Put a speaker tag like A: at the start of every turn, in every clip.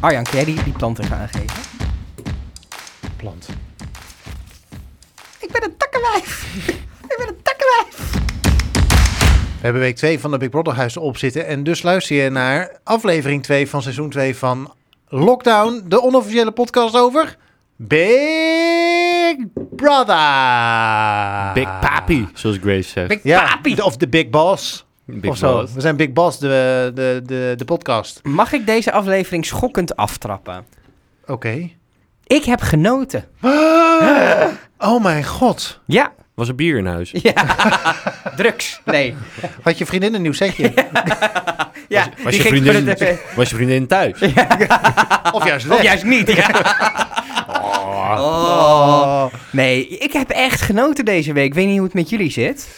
A: Arjan, kun jij die, die plant even aangeven?
B: Plant.
A: Ik ben een takkenwijf. ik ben een takkenwijf.
B: We hebben week 2 van de Big Brother Huis op zitten. En dus luister je naar aflevering 2 van seizoen 2 van Lockdown. De onofficiële podcast over Big Brother.
C: Big Papi, Ah. zoals Grace zegt.
A: Big
B: Ja,
A: papi.
B: de- of de Big Boss.
C: Big
B: of zo.
C: Boss.
B: We zijn Big Boss, de, de, de, de podcast.
A: Mag ik deze aflevering schokkend aftrappen?
B: Oké.
A: Ik heb genoten.
B: Oh mijn god.
A: Ja.
C: Was er bier in huis?
A: Ja. Drugs. Nee.
B: Had je vriendin een nieuw setje?
A: Ja,
C: Was,
A: die
C: was, je
A: ging
C: vriendin,
A: voor de tv.
C: was je vriendin thuis?
B: Of juist
A: Of
B: weg?
A: juist niet. Ja. Oh.
B: Oh.
A: Nee, ik heb echt genoten deze week. Ik weet niet hoe het met jullie zit.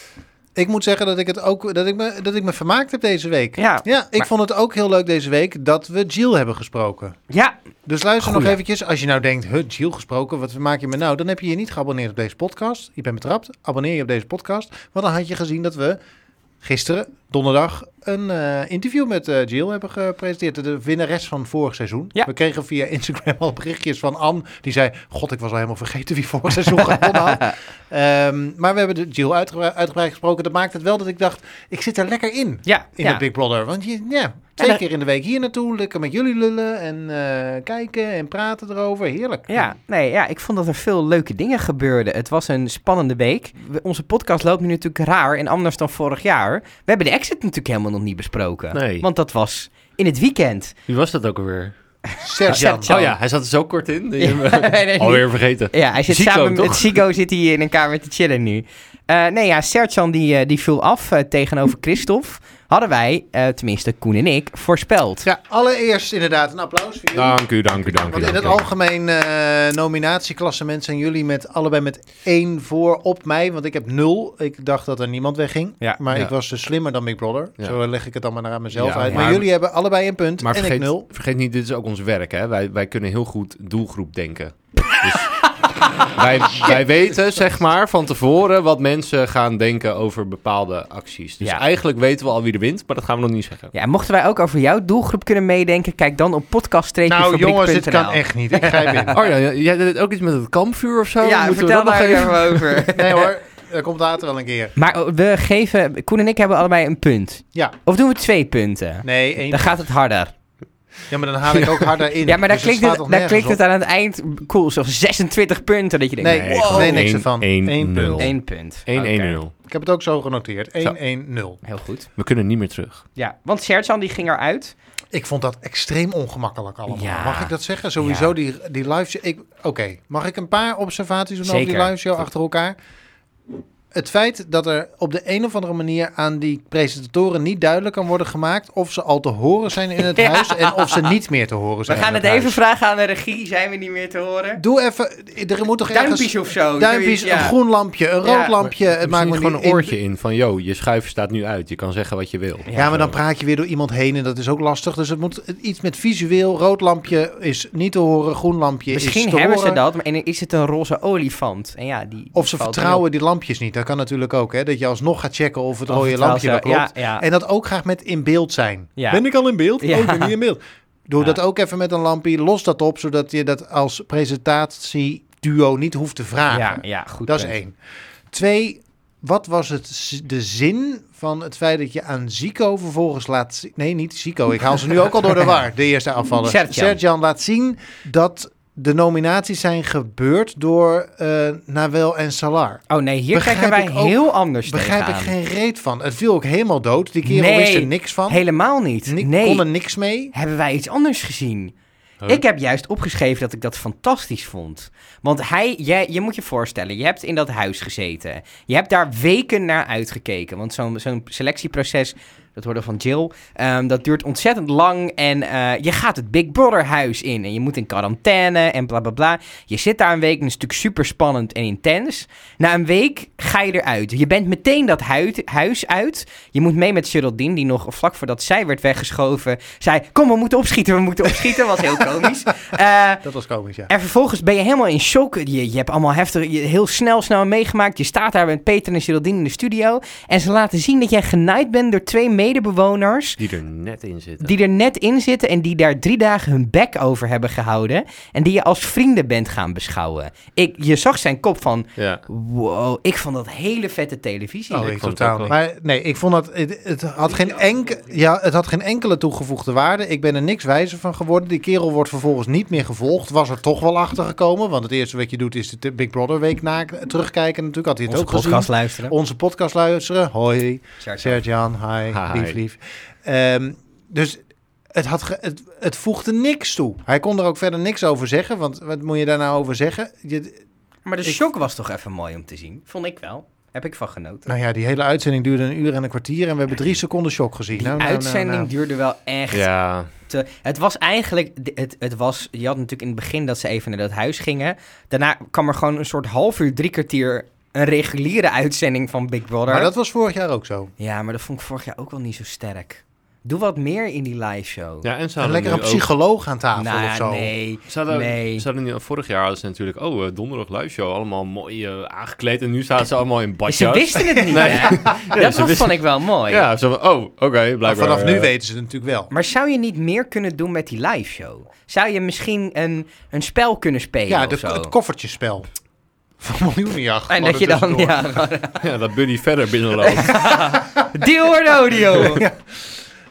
B: Ik moet zeggen dat ik het ook dat ik me, dat ik me vermaakt heb deze week.
A: Ja.
B: ik
A: Maar-
B: vond het ook heel leuk deze week dat we Jill hebben gesproken.
A: Ja.
B: Dus luister nog
A: Goeie.
B: eventjes. Als je nou denkt, huh, Jill gesproken, wat maak je me nou? Dan heb je je niet geabonneerd op deze podcast. Je bent betrapt. Abonneer je op deze podcast. Want dan had je gezien dat we gisteren, donderdag, een eh, interview met eh, Jill hebben gepresenteerd. De winnares van vorig seizoen.
A: Ja.
B: We kregen via Instagram al berichtjes van Ann. Die zei, god, ik was al helemaal vergeten wie vorig seizoen gewonnen had. Ehm, maar we hebben de Jill uitgebreid, uitgebreid gesproken. Dat maakt het wel dat ik dacht, ik zit er lekker in.
A: Ja.
B: In
A: ja.
B: het Big Brother. Want je, ja, twee
A: dat-
B: keer in de week hier naartoe. Lekker met jullie lullen en eh, kijken en praten erover. Heerlijk.
A: Ja, nee, ja, ik vond dat er veel leuke dingen gebeurden. Het was een spannende week. We- onze podcast loopt nu natuurlijk raar en anders dan vorig jaar. We hebben de exit natuurlijk helemaal nog niet besproken.
C: Nee.
A: Want dat was in het weekend.
C: Wie was dat ook alweer?
B: Serjan.
A: Serjan. Zo.
C: Oh ja, hij zat er zo kort in.
A: Ja,
C: Die
A: nee, nee.
C: eh, Alweer vergeten.
A: Ja, hij zit
C: Zico,
A: samen met
C: toch?
A: Zico zit hij in een kamer te chillen nu. Eh, nee, ja, Sertjan die, eh, die viel af eh, tegenover Christophe. Hadden wij, eh, tenminste Koen en ik, voorspeld.
B: Ja, allereerst inderdaad een applaus voor jullie.
C: Dank u, dank u, dank u.
B: Want in het
C: dank u.
B: algemeen eh, nominatieklassement zijn jullie met allebei met één voor op mij. Want ik heb nul. Ik dacht dat er niemand wegging.
A: Ja,
B: maar
C: ja.
B: ik was dus slimmer dan Big Brother.
C: Ja.
B: Zo leg ik het dan maar naar aan mezelf
C: Ja,
B: uit. Maar,
C: maar-
B: jullie hebben allebei een punt
C: Maar
B: en ik
C: vergeet,
B: nul.
C: vergeet niet, dit is ook ons werk. Hè? Wij, wij kunnen heel goed doelgroep denken. Dus wij, wij weten, zeg maar, van tevoren wat mensen gaan denken over bepaalde acties. Dus
A: Ja.
C: eigenlijk weten we al wie er wint, maar dat gaan we nog niet zeggen.
A: Ja, mochten wij ook over jouw doelgroep kunnen meedenken, kijk dan op podcast
B: Nou jongens, dit kan echt niet. Ik grijp in.
C: Oh ja, jij deed ook iets met het kampvuur of zo?
A: Ja,
C: Moeten we
A: vertel
C: dat nog
A: daar even
C: even-
A: over.
B: Nee hoor, dat komt later wel een keer.
A: Maar we geven, Koen en ik hebben allebei een punt.
B: Ja.
A: Of doen we twee punten?
B: Nee, één
A: Dan gaat het harder.
B: Ja, maar dan haal ik ook harder in.
A: Ja, maar daar
B: Dus
A: klinkt,
B: slaat
A: het,
B: toch
A: daar
B: nergens
A: klinkt het
B: op.
A: aan het eind cool. Zo'n 26 punten dat je denkt,
B: Nee,
A: nee,
C: gewoon
B: nee niks
C: één-
B: ervan.
C: één-
B: Eén
C: nul.
B: punt.
A: één punt.
C: 1-1-0.
A: Oké,
B: Ik heb het ook zo genoteerd. 1-1-0.
A: Heel goed.
C: We kunnen niet meer terug.
A: Ja, want Sertjan die ging eruit.
B: Ik vond dat extreem ongemakkelijk allemaal.
A: Ja.
B: Mag ik dat zeggen? Sowieso
A: Ja.
B: die, die live show. ik- Oké, mag ik een paar observaties doen over
A: Zeker.
B: die live show achter elkaar? Het feit dat er op de een of andere manier aan die presentatoren niet duidelijk kan worden gemaakt of ze al te horen zijn in het
A: Ja.
B: huis en of ze niet meer te horen
A: We
B: zijn.
A: gaan
B: in
A: het even
B: huis.
A: vragen aan de regie. Zijn we niet meer te horen?
B: Doe even. Er moet toch ergens.
A: Duimpjes of zo.
B: Duimpjes,
A: zoiets, ja.
B: een groen lampje, een rood
A: Ja.
B: lampje. Het maakt me
C: gewoon een
B: niet-
C: oortje in van, yo, je schuif staat nu uit. Je kan zeggen wat je wil.
B: Ja, maar dan praat je weer door iemand heen en dat is ook lastig. Dus het moet iets met visueel. Rood lampje is niet te horen, groen lampje is
A: Misschien
B: te
A: hebben ze
B: horen.
A: dat, maar en is het een roze olifant? En ja, die,
B: Of ze
A: valt
B: vertrouwen die lampjes niet. Dat kan natuurlijk ook, hè? Dat je alsnog gaat checken of het
A: erop.
B: rode
A: Of vertrouwt
B: lampje wel
A: ze-
B: klopt.
A: Ja, ja.
B: En dat ook graag met in beeld zijn.
A: Ja.
B: Ben ik al in beeld?
A: Ja.
B: Oh, ik ben niet in beeld. Doe
A: Ja.
B: dat ook even met een lampje. Los dat op, zodat je dat als presentatieduo niet hoeft te vragen.
A: ja, ja, goed
B: Dat is
A: punt.
B: één. Twee, wat was het, z- de zin van het feit dat je aan Zico vervolgens laat zien... Nee, niet Zico. Ik haal ze nu ook al door de war, de eerste afvaller.
A: Sertjan.
B: laat zien dat de nominaties zijn gebeurd door eh Nawel en Salar.
A: Oh nee, hier
B: Begrijp
A: kijken wij
B: ik ook-
A: heel anders
B: Begrijp ik
A: tegenaan.
B: geen reet van. Het viel ook helemaal dood. Die kerel
A: Nee,
B: wist er niks van.
A: Helemaal niet.
B: Ni-
A: nee,
B: Kon er niks mee.
A: hebben wij iets anders gezien.
C: Huh?
A: Ik heb juist opgeschreven dat ik dat fantastisch vond. Want hij, jij, je moet je voorstellen, je hebt in dat huis gezeten. Je hebt daar weken naar uitgekeken. Want zo'n zo'n selectieproces, dat hoorde van Jill, ehm, dat duurt ontzettend lang. En eh, je gaat het Big Brother huis in. En je moet in quarantaine en bla bla bla. Je zit daar een week, een stuk super spannend en intens. Na een week ga je eruit. Je bent meteen dat hui- huis uit. Je moet mee met Geraldine, die nog vlak voordat zij werd weggeschoven, zei: Kom, we moeten opschieten, we moeten opschieten. Was heel komisch. Eh,
B: Dat was komisch, ja.
A: en vervolgens ben je helemaal in shock. Je, je hebt allemaal heftig, je, heel snel, snel meegemaakt. Je staat daar met Peter en Geraldine in de studio. En ze laten zien dat jij genaaid bent door twee medebewoners
C: Die er net in zitten.
A: die er net in zitten en die daar drie dagen hun bek over hebben gehouden en die je als vrienden bent gaan beschouwen. Ik, je zag zijn kop van,
C: Ja.
A: wow, ik vond dat hele vette televisie.
B: Oh,
C: ik
B: ik
C: vond het
B: totaal
C: ook
B: niet.
C: wel.
B: Maar nee, ik vond dat het, het had geen enke, ja, het had geen enkele toegevoegde waarde. Ik ben er niks wijzer van geworden. Die kerel wordt vervolgens niet meer gevolgd. Was er toch wel achter gekomen, want het eerste wat je doet is de Big Brother week na terugkijken. Natuurlijk had hij het
A: Onze
B: ook gezien.
A: podcast luisteren.
B: Onze podcast luisteren. Hoi,
A: Sjaard,
B: Serjan. Hi,
C: Hi.
B: lief, lief. Ehm, dus het, had ge- het, het voegde niks toe. Hij kon er ook verder niks over zeggen, want wat moet je daar nou over zeggen? Je,
A: Maar de
B: Ik-
A: shock was toch even mooi om te zien. Vond ik wel. Heb ik van genoten.
B: nou ja, die hele uitzending duurde een uur en een kwartier en we hebben drie seconden shock gezien.
A: Die
B: nou, nou, nou,
A: uitzending
B: nou.
A: duurde wel echt
C: Ja.
A: te... Het was eigenlijk... Het, het was, je had natuurlijk in het begin dat ze even naar dat huis gingen. Daarna kwam er gewoon een soort half uur, drie kwartier... een reguliere uitzending van Big Brother.
B: Maar dat was vorig jaar ook
C: Nou,
B: zo.
A: Ja, maar dat vond ik vorig jaar ook wel niet zo sterk. Doe wat meer in die live show.
C: ja, en ze
B: Een
C: hadden
B: lekkere
C: nu ook-
B: psycholoog aan tafel
A: Nou,
B: of zo.
A: nee.
C: Ze hadden,
A: Nee.
C: ze hadden nu, vorig jaar hadden ze natuurlijk, oh, eh, donderdag live show, allemaal mooi eh, aangekleed. En nu zaten ze allemaal in badjas.
A: Ze wisten het niet,
C: Nee.
A: hè? dat
C: ze
A: was,
C: wisten-
A: vond ik wel mooi.
C: Ja, zo van, oh, oké,
B: Maar
C: blijkbaar.
B: vanaf nu
C: eh,
B: weten ze het natuurlijk wel.
A: Maar zou je niet meer kunnen doen met die live show? Zou je misschien een, een spel kunnen spelen
B: Ja,
A: of
B: de,
A: zo?
B: het koffertjespel. Van miljoenenjacht.
A: en dat je dan, ja, gewoon,
C: Ja, dat Buddy verder binnenloopt.
A: deal or no deal.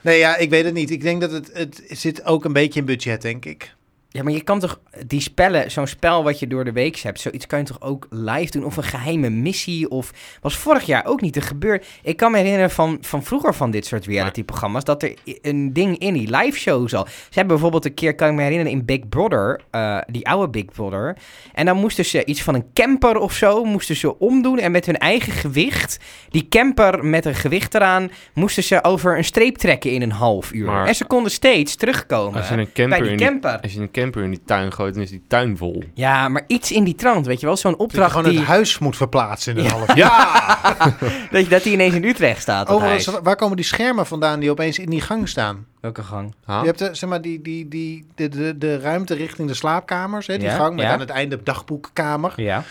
B: Nee, ja, ik weet het niet. Ik denk dat het, het zit ook een beetje in budget, denk ik.
A: Ja, maar je kan toch die spellen, zo'n spel wat je door de week hebt, zoiets kan je toch ook live doen? Of een geheime missie? Of was vorig jaar ook niet te gebeuren? Ik kan me herinneren van, van vroeger van dit soort reality-programma's dat er i- een ding in die live show zal. Ze hebben bijvoorbeeld een keer, kan ik me herinneren, in Big Brother, eh, die oude Big Brother. En dan moesten ze iets van een camper of zo, moesten ze omdoen en met hun eigen gewicht, die camper met een gewicht eraan, moesten ze over een streep trekken in een half uur.
C: Maar-
A: en ze konden steeds terugkomen.
C: als, je een
A: bij
C: camper
A: die
C: in die,
A: camper.
C: als je een camper in die tuin gooit, dan is die tuin vol.
A: Ja, maar iets in die trant, weet je wel? Zo'n
B: Dat je
A: opdracht
B: gewoon
A: die,
B: het huis moet verplaatsen in een half jaar.
C: Ja!
A: dat, je, dat die ineens in Utrecht staat. dat
B: Overigens,
A: huis.
B: waar komen die schermen vandaan die opeens in die gang staan?
A: Welke gang?
C: Ha?
B: Je hebt de, zeg maar, die, die, die, de, de, de ruimte richting de slaapkamers, hè, die
A: Ja,
B: gang met
A: ja.
B: aan het einde dagboekkamer.
A: Ja.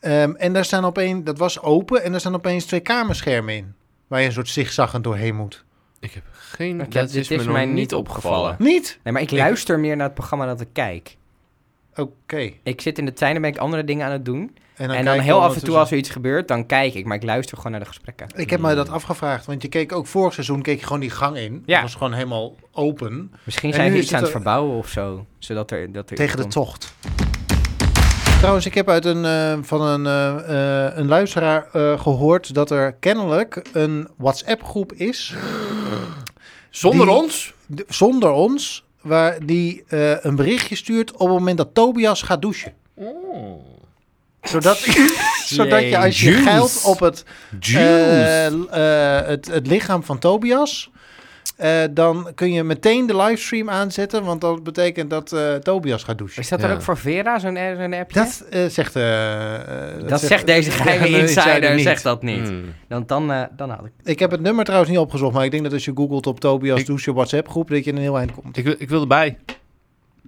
B: Ehm, en daar staan opeens, dat was open, en daar staan opeens twee kamerschermen in. Waar je een soort zigzaggend doorheen moet.
C: Ik heb geen...
A: Ik heb-
C: dat
A: dit
C: is, me mij niet opgevallen.
B: Niet?
A: Nee, maar ik
B: Ik-
A: luister meer naar het programma dan ik kijk.
B: Oké.
A: Ik zit in de trein en ben ik andere dingen aan het doen. en dan
B: kijk
A: heel af
B: je
A: en toe
B: ondertussen-
A: als er iets gebeurt, dan kijk ik. Maar ik luister gewoon naar de gesprekken.
B: Ik heb mij dat afgevraagd, want je keek ook vorig seizoen keek je gewoon die gang in.
A: Ja.
B: Dat was gewoon helemaal open
A: Misschien
B: En
A: zijn
B: nu
A: ze
B: is
A: iets
B: het
A: aan het
B: er-
A: verbouwen of zo. Zodat er... Dat er
B: tegen de
A: komt.
B: tocht. Trouwens, ik heb uit een, eh, van een, eh, eh, een luisteraar eh, gehoord dat er kennelijk een WhatsApp-groep is,
C: Zonder
B: Die-
C: ons?
B: d- zonder ons, waar die eh, een berichtje stuurt op het moment dat Tobias gaat douchen. Zodat, zodat je als je
C: Juice.
B: geilt op het
C: Juice.
B: eh, eh, het, het lichaam van Tobias. eh, dan kun je meteen de livestream aanzetten, want dat betekent dat eh, Tobias gaat douchen.
A: Is dat dan
C: Ja.
A: ook voor Vera, zo'n zo'n appje?
B: Dat eh, zegt, eh, eh,
A: Dat zegt deze geheime
B: een
A: insider,
B: niet.
A: zegt dat niet. Mm.
C: Hmm.
A: Want dan, eh, dan had ik...
B: Ik heb het nummer trouwens niet opgezocht, maar ik denk dat als je googelt op Tobias
C: Ik-
B: douche WhatsApp groep, dat je een heel eind komt.
C: Ik, wil- ik wil erbij.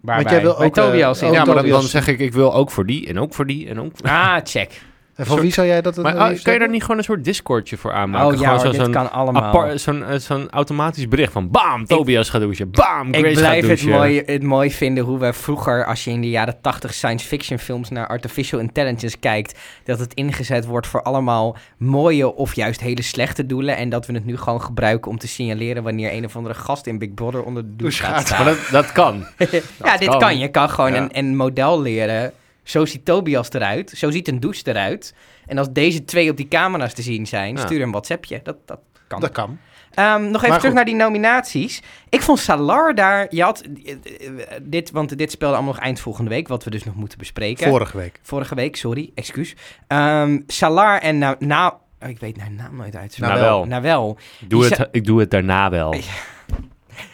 A: Waarbij?
B: jij wil
A: Bij
B: ook, eh,
A: Tobias in.
B: Oh,
C: ja, maar dan,
B: Tobias.
C: dan zeg ik, ik wil ook voor die en ook voor die en ook voor...
A: Ah, check.
B: En van wie zou jij dat het
C: Maar
B: nou
C: ah,
B: liefst
C: kan je daar
B: hebben?
C: niet gewoon een soort Discordje voor aanmaken?
A: Oh ja,
C: gewoon
A: hoor,
C: zo-
A: dit
C: zo'n
A: kan allemaal.
C: apart- zo'n eh, zo'n automatisch bericht van bam, Tobias gaat douchen, bam, Grace
A: Ik
C: gaat
A: blijf het
C: douchen.
A: mooi, het mooi vinden hoe wij vroeger, als je in de jaren 80 science fiction films naar artificial intelligence kijkt, dat het ingezet wordt voor allemaal mooie of juist hele slechte doelen. En dat we het nu gewoon gebruiken om te signaleren wanneer een of andere gast in Big Brother onder de douche
B: Douche
A: gaat
B: gaat.
A: staan.
C: Maar dat, dat kan.
A: ja, dit
C: kan.
A: kan. Je kan gewoon
C: Ja.
A: een, een model leren. Zo ziet Tobias eruit. Zo ziet een douche eruit. En als deze twee op die camera's te zien zijn,
C: Ja.
A: stuur een WhatsAppje. Dat, dat kan.
B: Dat kan.
A: Ehm, nog even
B: goed.
A: terug naar die nominaties. Ik vond Salar daar. Je had, eh, eh, dit, want dit speelde allemaal nog eind volgende week, wat we dus nog moeten bespreken.
B: Vorige week.
A: Vorige week, sorry, excuus. Ehm, Salar en nou, nou oh, ik weet haar naam nooit uit.
C: Nou wel.
A: Nou wel.
C: Doe
A: Die
C: het, ik doe het daarna wel.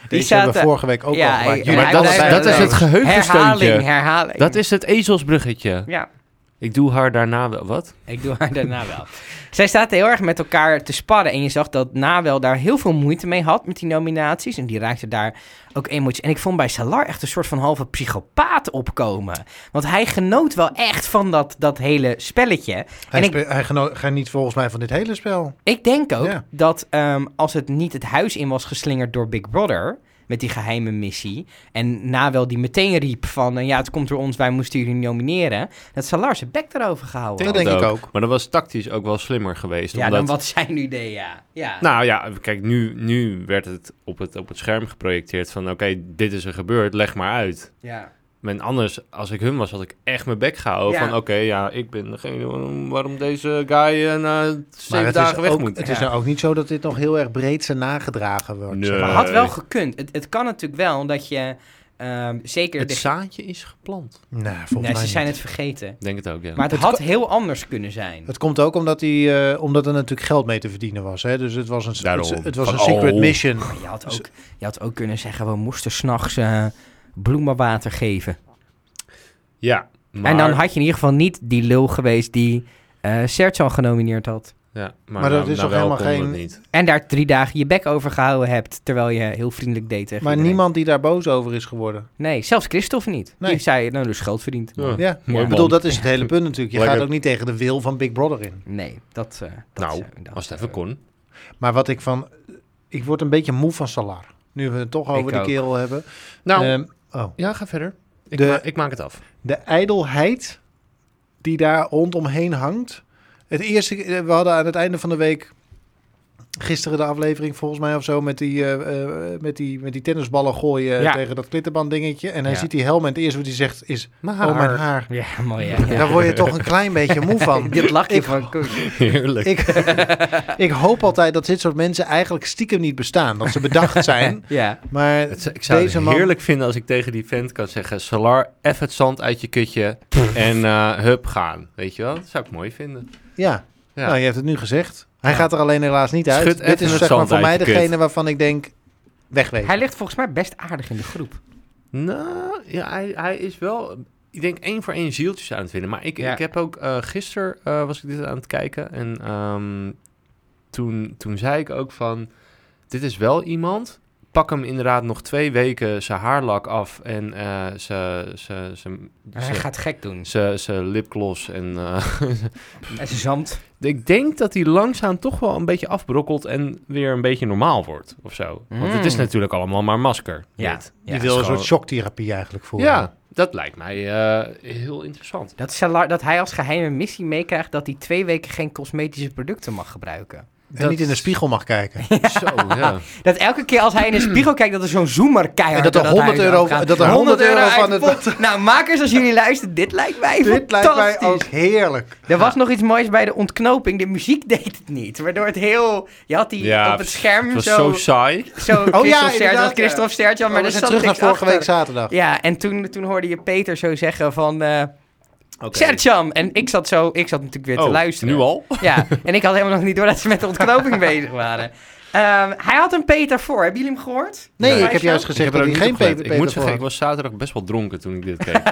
B: Deze
A: zaten-
B: hebben we vorige week ook
A: Ja,
B: al gemaakt.
A: ja,
B: Jullie
A: maar
C: dat,
B: allebei
A: blijft-
C: dat is
B: leuk.
C: het geheugensteuntje.
A: Herhaling, herhaling.
C: Dat is het ezelsbruggetje.
A: Ja.
C: Ik doe haar daarna wel. Wat?
A: Ik doe haar daarna wel. Zij staat heel erg met elkaar te sparren. En je zag dat Nawel daar heel veel moeite mee had met die nominaties. En die raakte daar ook emotie. En ik vond bij Salar echt een soort van halve psychopaat opkomen. Want hij genoot wel echt van dat, dat hele spelletje.
B: Hij,
A: En ik-
B: spe- hij geno- geniet volgens mij van dit hele spel.
A: Ik denk ook
B: Ja.
A: dat ehm, als het niet het huis in was geslingerd door Big Brother... met die geheime missie... en Nawel die meteen riep van... eh, ja, het komt door ons, wij moesten jullie nomineren... dat Salar zijn bek daarover gehouden
B: Dat
A: had.
B: denk ik ook.
C: Maar dat was tactisch ook wel slimmer geweest.
A: Ja,
C: omdat...
A: dan wat zijn nu deed, ja. ja.
C: Nou ja, kijk, nu, nu werd het op, het op het scherm geprojecteerd van... oké, dit is er gebeurd, leg maar uit.
A: ja.
C: Men anders, als ik hun was, had ik echt mijn bek gehouden.
A: Ja.
C: Van oké, ja, ik ben degene waarom- waarom deze guy eh, na
B: Maar
C: zeven
B: het is,
C: dagen weg
B: ook,
C: moet.
B: het is
A: Ja.
B: nou ook niet zo dat dit nog heel erg breed zijn nagedragen wordt.
C: Nee.
B: zeg maar.
A: Maar had wel
C: Nee.
A: gekund. Het, het kan natuurlijk wel dat je ehm, zeker.
C: Het
A: de-
C: zaadje is geplant.
B: Nee, volgens
A: nee,
B: mij
A: ze
B: niet.
A: zijn het vergeten.
C: Ik Denk het ook, ja.
A: Maar het,
B: Het
A: had
B: ko-
A: heel anders kunnen zijn.
B: Het komt ook omdat, die, eh, omdat er natuurlijk geld mee te verdienen was. Hè? Dus het was een,
C: Daarom.
B: het, het was
C: Van,
B: een secret
C: oh.
B: mission.
A: Maar je had ook, je had ook kunnen zeggen: we moesten s'nachts eh bloemenwater geven.
C: Ja, maar...
A: En dan had je in ieder geval niet die lul geweest die eh Sertjan genomineerd had.
C: Ja, maar,
B: Maar dat
C: nou-
B: is
C: nou
B: toch
C: wel
B: helemaal
C: kon dat
B: geen-
C: Niet.
A: En daar drie dagen je bek over gehouden hebt. Terwijl je heel vriendelijk deed tegen
B: Maar
A: iedereen.
B: niemand die daar boos over is geworden.
A: Nee, zelfs Christophe niet.
B: Nee.
A: Die zei: nou, dus geld verdiend.
C: Ja.
B: Ja.
C: Mooi
B: Ik bedoel,
C: man.
B: dat is het hele punt natuurlijk. Je
C: Lekker.
B: gaat ook niet tegen de wil van Big Brother in.
A: Nee, dat. eh dat
C: Nou,
A: eh, dat,
C: als het
A: eh,
C: even kon.
B: Maar wat ik van... Ik word een beetje moe van Salar. Nu we het toch over
A: Ik
B: die
A: ook.
B: kerel hebben.
C: Nou,
B: Ehm, oh.
C: ja, ga verder. Ik,
B: de-
C: ma- ik maak het af.
B: de ijdelheid die daar rondomheen hangt. Het eerste, eh, we hadden aan het einde van de week, gisteren de aflevering volgens mij of zo, met die, eh, eh, met die, met die tennisballen gooien
A: Ja.
B: tegen dat klittenband dingetje. En hij
A: Ja.
B: ziet die helm en het eerste wat hij zegt is,
C: Maar...
B: oh mijn haar.
A: Ja, mooi. hè? Ja.
B: Daar word je toch een klein beetje moe van.
A: Dit lachje
B: Ik-
A: van Koen.
C: Heerlijk.
B: Ik, ik hoop altijd dat dit soort mensen eigenlijk stiekem niet bestaan. Dat ze bedacht zijn.
A: Ja.
B: Maar
C: Het z- ik zou
B: Deze
C: het
B: man-
C: heerlijk vinden als ik tegen die vent kan zeggen... Salar, eff het zand uit je kutje en eh, hup, gaan. Weet je wel? Dat zou ik mooi vinden.
B: ja,
C: Ja.
B: Nou, je hebt het nu gezegd. Hij gaat er alleen helaas niet uit.
C: Schud
B: dit
C: even
B: is
C: het
B: zeg maar
C: zand
B: voor
C: uit
B: mij
C: je
B: degene
C: kut.
B: waarvan ik denk, wegwezen.
A: Hij ligt volgens mij best aardig in de groep.
C: Nou, ja, hij, hij is wel... Ik denk één voor één zieltjes aan het vinden. Maar ik,
A: Ja.
C: ik heb ook... eh gisteren eh, was ik dit aan het kijken. En ehm, toen, toen zei ik ook van... Dit is wel iemand... Pak hem inderdaad nog twee weken zijn haarlak af en eh zijn- zijn- zijn-
A: Hij gaat gek doen.
C: zijn- zijn lipgloss en eh,
A: En ze zand.
C: Ik denk dat hij langzaam toch wel een beetje afbrokkelt en weer een beetje normaal wordt of zo. Want het is
A: Mm.
C: natuurlijk allemaal maar masker.
A: Ja.
C: dit.
B: Die
A: ja.
B: wil een
C: gewoon-
B: soort shocktherapie eigenlijk voor.
C: ja dat lijkt mij eh, heel interessant.
A: Dat, Salar, dat hij als geheime missie meekrijgt dat hij twee weken geen cosmetische producten mag gebruiken.
B: En
C: Dat-
B: niet in de spiegel mag kijken.
C: Zo, ja.
A: Dat elke keer als hij in de spiegel kijkt, dat er zo'n zoomer keihard
B: En dat er
A: door dat
B: 100
A: huis
B: euro-
A: afgaat.
B: dat er 100 euro
A: uit
B: van
A: de
B: het-
A: pot. Nou, makers, als jullie luisteren, dit lijkt mij
B: Dit lijkt mij
A: fantastisch.
B: ook heerlijk.
A: Er was nog iets moois bij de ontknoping. De muziek deed het niet. Waardoor het heel... Je had die
C: Ja,
A: op het
C: Het
A: scherm
C: was
A: zo...
C: zo Oh saai.
A: zo
B: ja,
A: Christophe Sertjan,
B: inderdaad, ja.
A: Christophe Sertjan,
B: Maar
A: maar
B: Oh, we
A: er zat
B: zijn terug naar
A: niks
B: vorige
A: achter.
B: week zaterdag.
A: Ja, en toen, toen hoorde je Peter zo zeggen van... eh Sertjan! En ik zat zo... Ik zat natuurlijk weer te
C: Oh,
A: luisteren.
C: Nu al?
A: Ja, en ik had helemaal nog niet door dat ze met de ontknoping bezig waren. Ehm, hij had een Peter voor. Hebben jullie hem gehoord?
B: Nee,
C: Nee.
B: ik heb juist gezegd
C: er
B: dat hij
C: ook
B: geen
C: niet op gelet.
B: peper
C: Ik moet zeggen, ik
B: voor.
C: was zaterdag best wel dronken toen ik dit keek.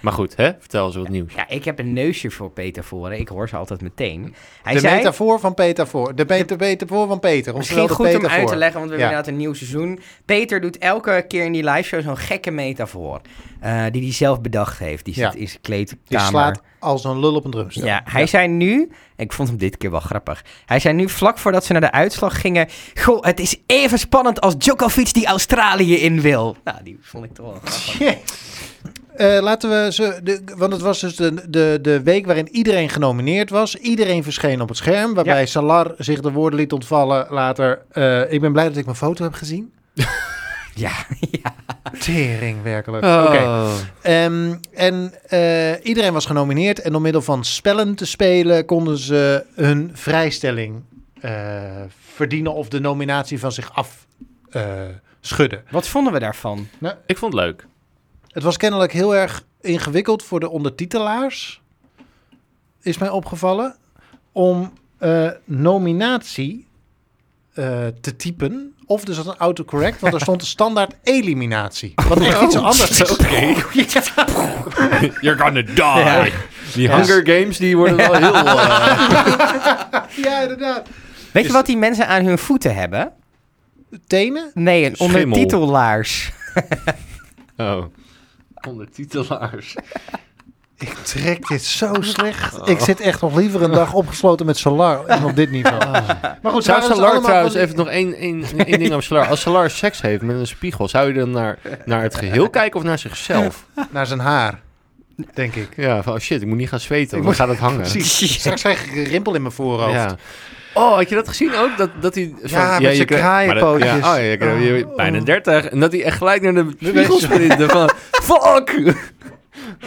C: maar goed, hè? vertel eens wat nieuws.
A: Ja, ik heb een neusje voor Peter voor. Ik hoor ze altijd meteen. Hij
B: De
A: zei...
B: metafoor van Peter voor. De Peter Peter voor van Peter.
A: Misschien
B: Oftewel de
A: goed om
B: Peter
A: uit te
B: voor.
A: leggen, want we hebben
B: Ja.
A: inderdaad een nieuw seizoen. Peter doet elke keer in die live show zo'n gekke metafoor. eh, die hij zelf bedacht heeft. Die zit
B: Ja.
A: in zijn kleedkamer.
B: Die slaat als een lul op een drumstel.
A: Ja, hij zei nu, ik vond hem dit keer wel grappig. Hij zei nu vlak voordat ze naar de uitslag gingen, goh, het is even spannend als Djokovic die Australië in wil. Nou, die vond ik toch wel grappig.
B: Jee. Eh, laten we ze, de, want het was dus de, de, de week waarin iedereen genomineerd was. Iedereen verscheen op het scherm, waarbij Salar zich de woorden liet ontvallen later. eh, ik ben blij dat ik mijn foto heb gezien.
A: Ja, ja. Oh.
B: Tering, werkelijk. Oké. Ehm, en eh, iedereen was genomineerd en door middel van spellen te spelen konden ze hun vrijstelling eh, verdienen of de nominatie van zich af eh, schudden.
A: Wat vonden we daarvan?
C: Ik vond het leuk.
B: Het was kennelijk heel erg ingewikkeld voor de ondertitelaars, is mij opgevallen, om eh, nominatie eh, te typen. Of dus had een autocorrect, want er stond een standaard eliminatie. Wat echt iets anders is.
C: You're gonna die.
A: Ja.
C: Die Hunger Games, die worden wel heel... eh,
B: Ja, inderdaad.
A: Weet je wat die mensen aan hun voeten hebben?
B: Tenen?
A: Nee, een
C: Schimmel.
A: ondertitelaars.
C: oh. Ondertitelaars.
B: Ik trek dit zo slecht. Ik zit echt nog liever een dag opgesloten met Solar dan op dit niveau. Maar goed, waren dus
C: Zou Salar
B: allemaal
C: trouwens,
B: van-
C: even nog één, één, één ding over Salar. Als Salar seks heeft met een spiegel, zou je dan naar, naar het geheel kijken of naar zichzelf?
B: naar zijn haar, denk ik.
C: Ja, van oh shit, ik moet niet gaan zweten,
B: Ik
C: want dan gaat het hangen.
B: Precies. Straks krijg ik een rimpel in mijn voorhoofd.
C: Ja. Oh, had je dat gezien ook? Dat, dat hij van,
B: met zijn
C: je krijgt-
B: kraaienpootjes.
C: maar dat- Ja, oh, ja, je krijgt- je- bijna 30. En dat hij echt gelijk naar de spiegel
B: weet je.
C: sprinte van... Fuck!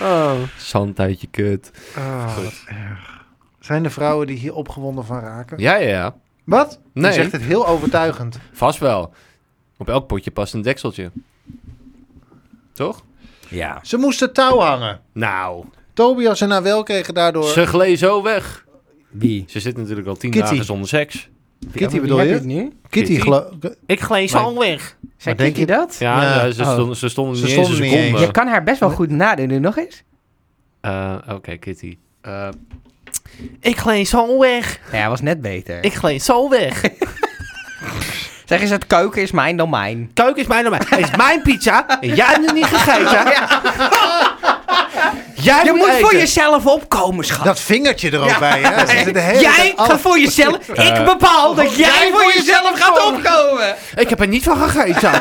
C: Oh, zand uit je kut.
B: Ah, wat erg. Zijn er vrouwen die hier opgewonden van raken?
C: Ja, ja, ja.
B: Wat?
C: Nee.
B: Je zegt het heel overtuigend.
C: Vast wel. Op elk potje past een dekseltje. Toch?
A: Ja.
B: Ze moesten touw hangen.
C: Nou,
B: Tobias en Nawel kregen daardoor...
C: ze gleed zo weg.
A: Wie?
C: Ze zit natuurlijk al tien
B: Kitty.
C: dagen zonder seks.
B: Kitty bedoel
A: Heb
B: je?
A: het nu?
B: Kitty,
C: Kitty.
B: gelo-
A: Ik glees
C: Nee.
A: al weg. Zei
B: Maar denk
A: Kitty
B: je-
A: dat?
C: Ja,
B: Ja.
C: ja, ze,
A: Oh.
C: stonden, ze stonden
B: Ze
C: niet
B: stonden
C: eens
B: niet
C: een seconde.
B: eens.
A: Je kan haar best wel goed nadoen. Nog eens?
C: Eh, Oké, Kitty. Eh, ik gleed zo weg.
A: Ja, hij was net beter.
C: Ik gleed zo weg.
A: Zeg eens, het koken is mijn domein.
C: Kuik is mijn domein. Het is mijn pizza. En jij hebt het niet gegeten. Jij
A: Je
C: moet,
A: moet voor
C: eten.
A: jezelf opkomen, schat.
B: dat vingertje er ook bij. Hè? Ze zitten de hele
A: Jij
B: tijd alle-
A: gaat voor jezelf.
C: Eh,
A: ik bepaal dat jij voor jezelf gaat opkomen.
C: Ik heb er niet van gegeten.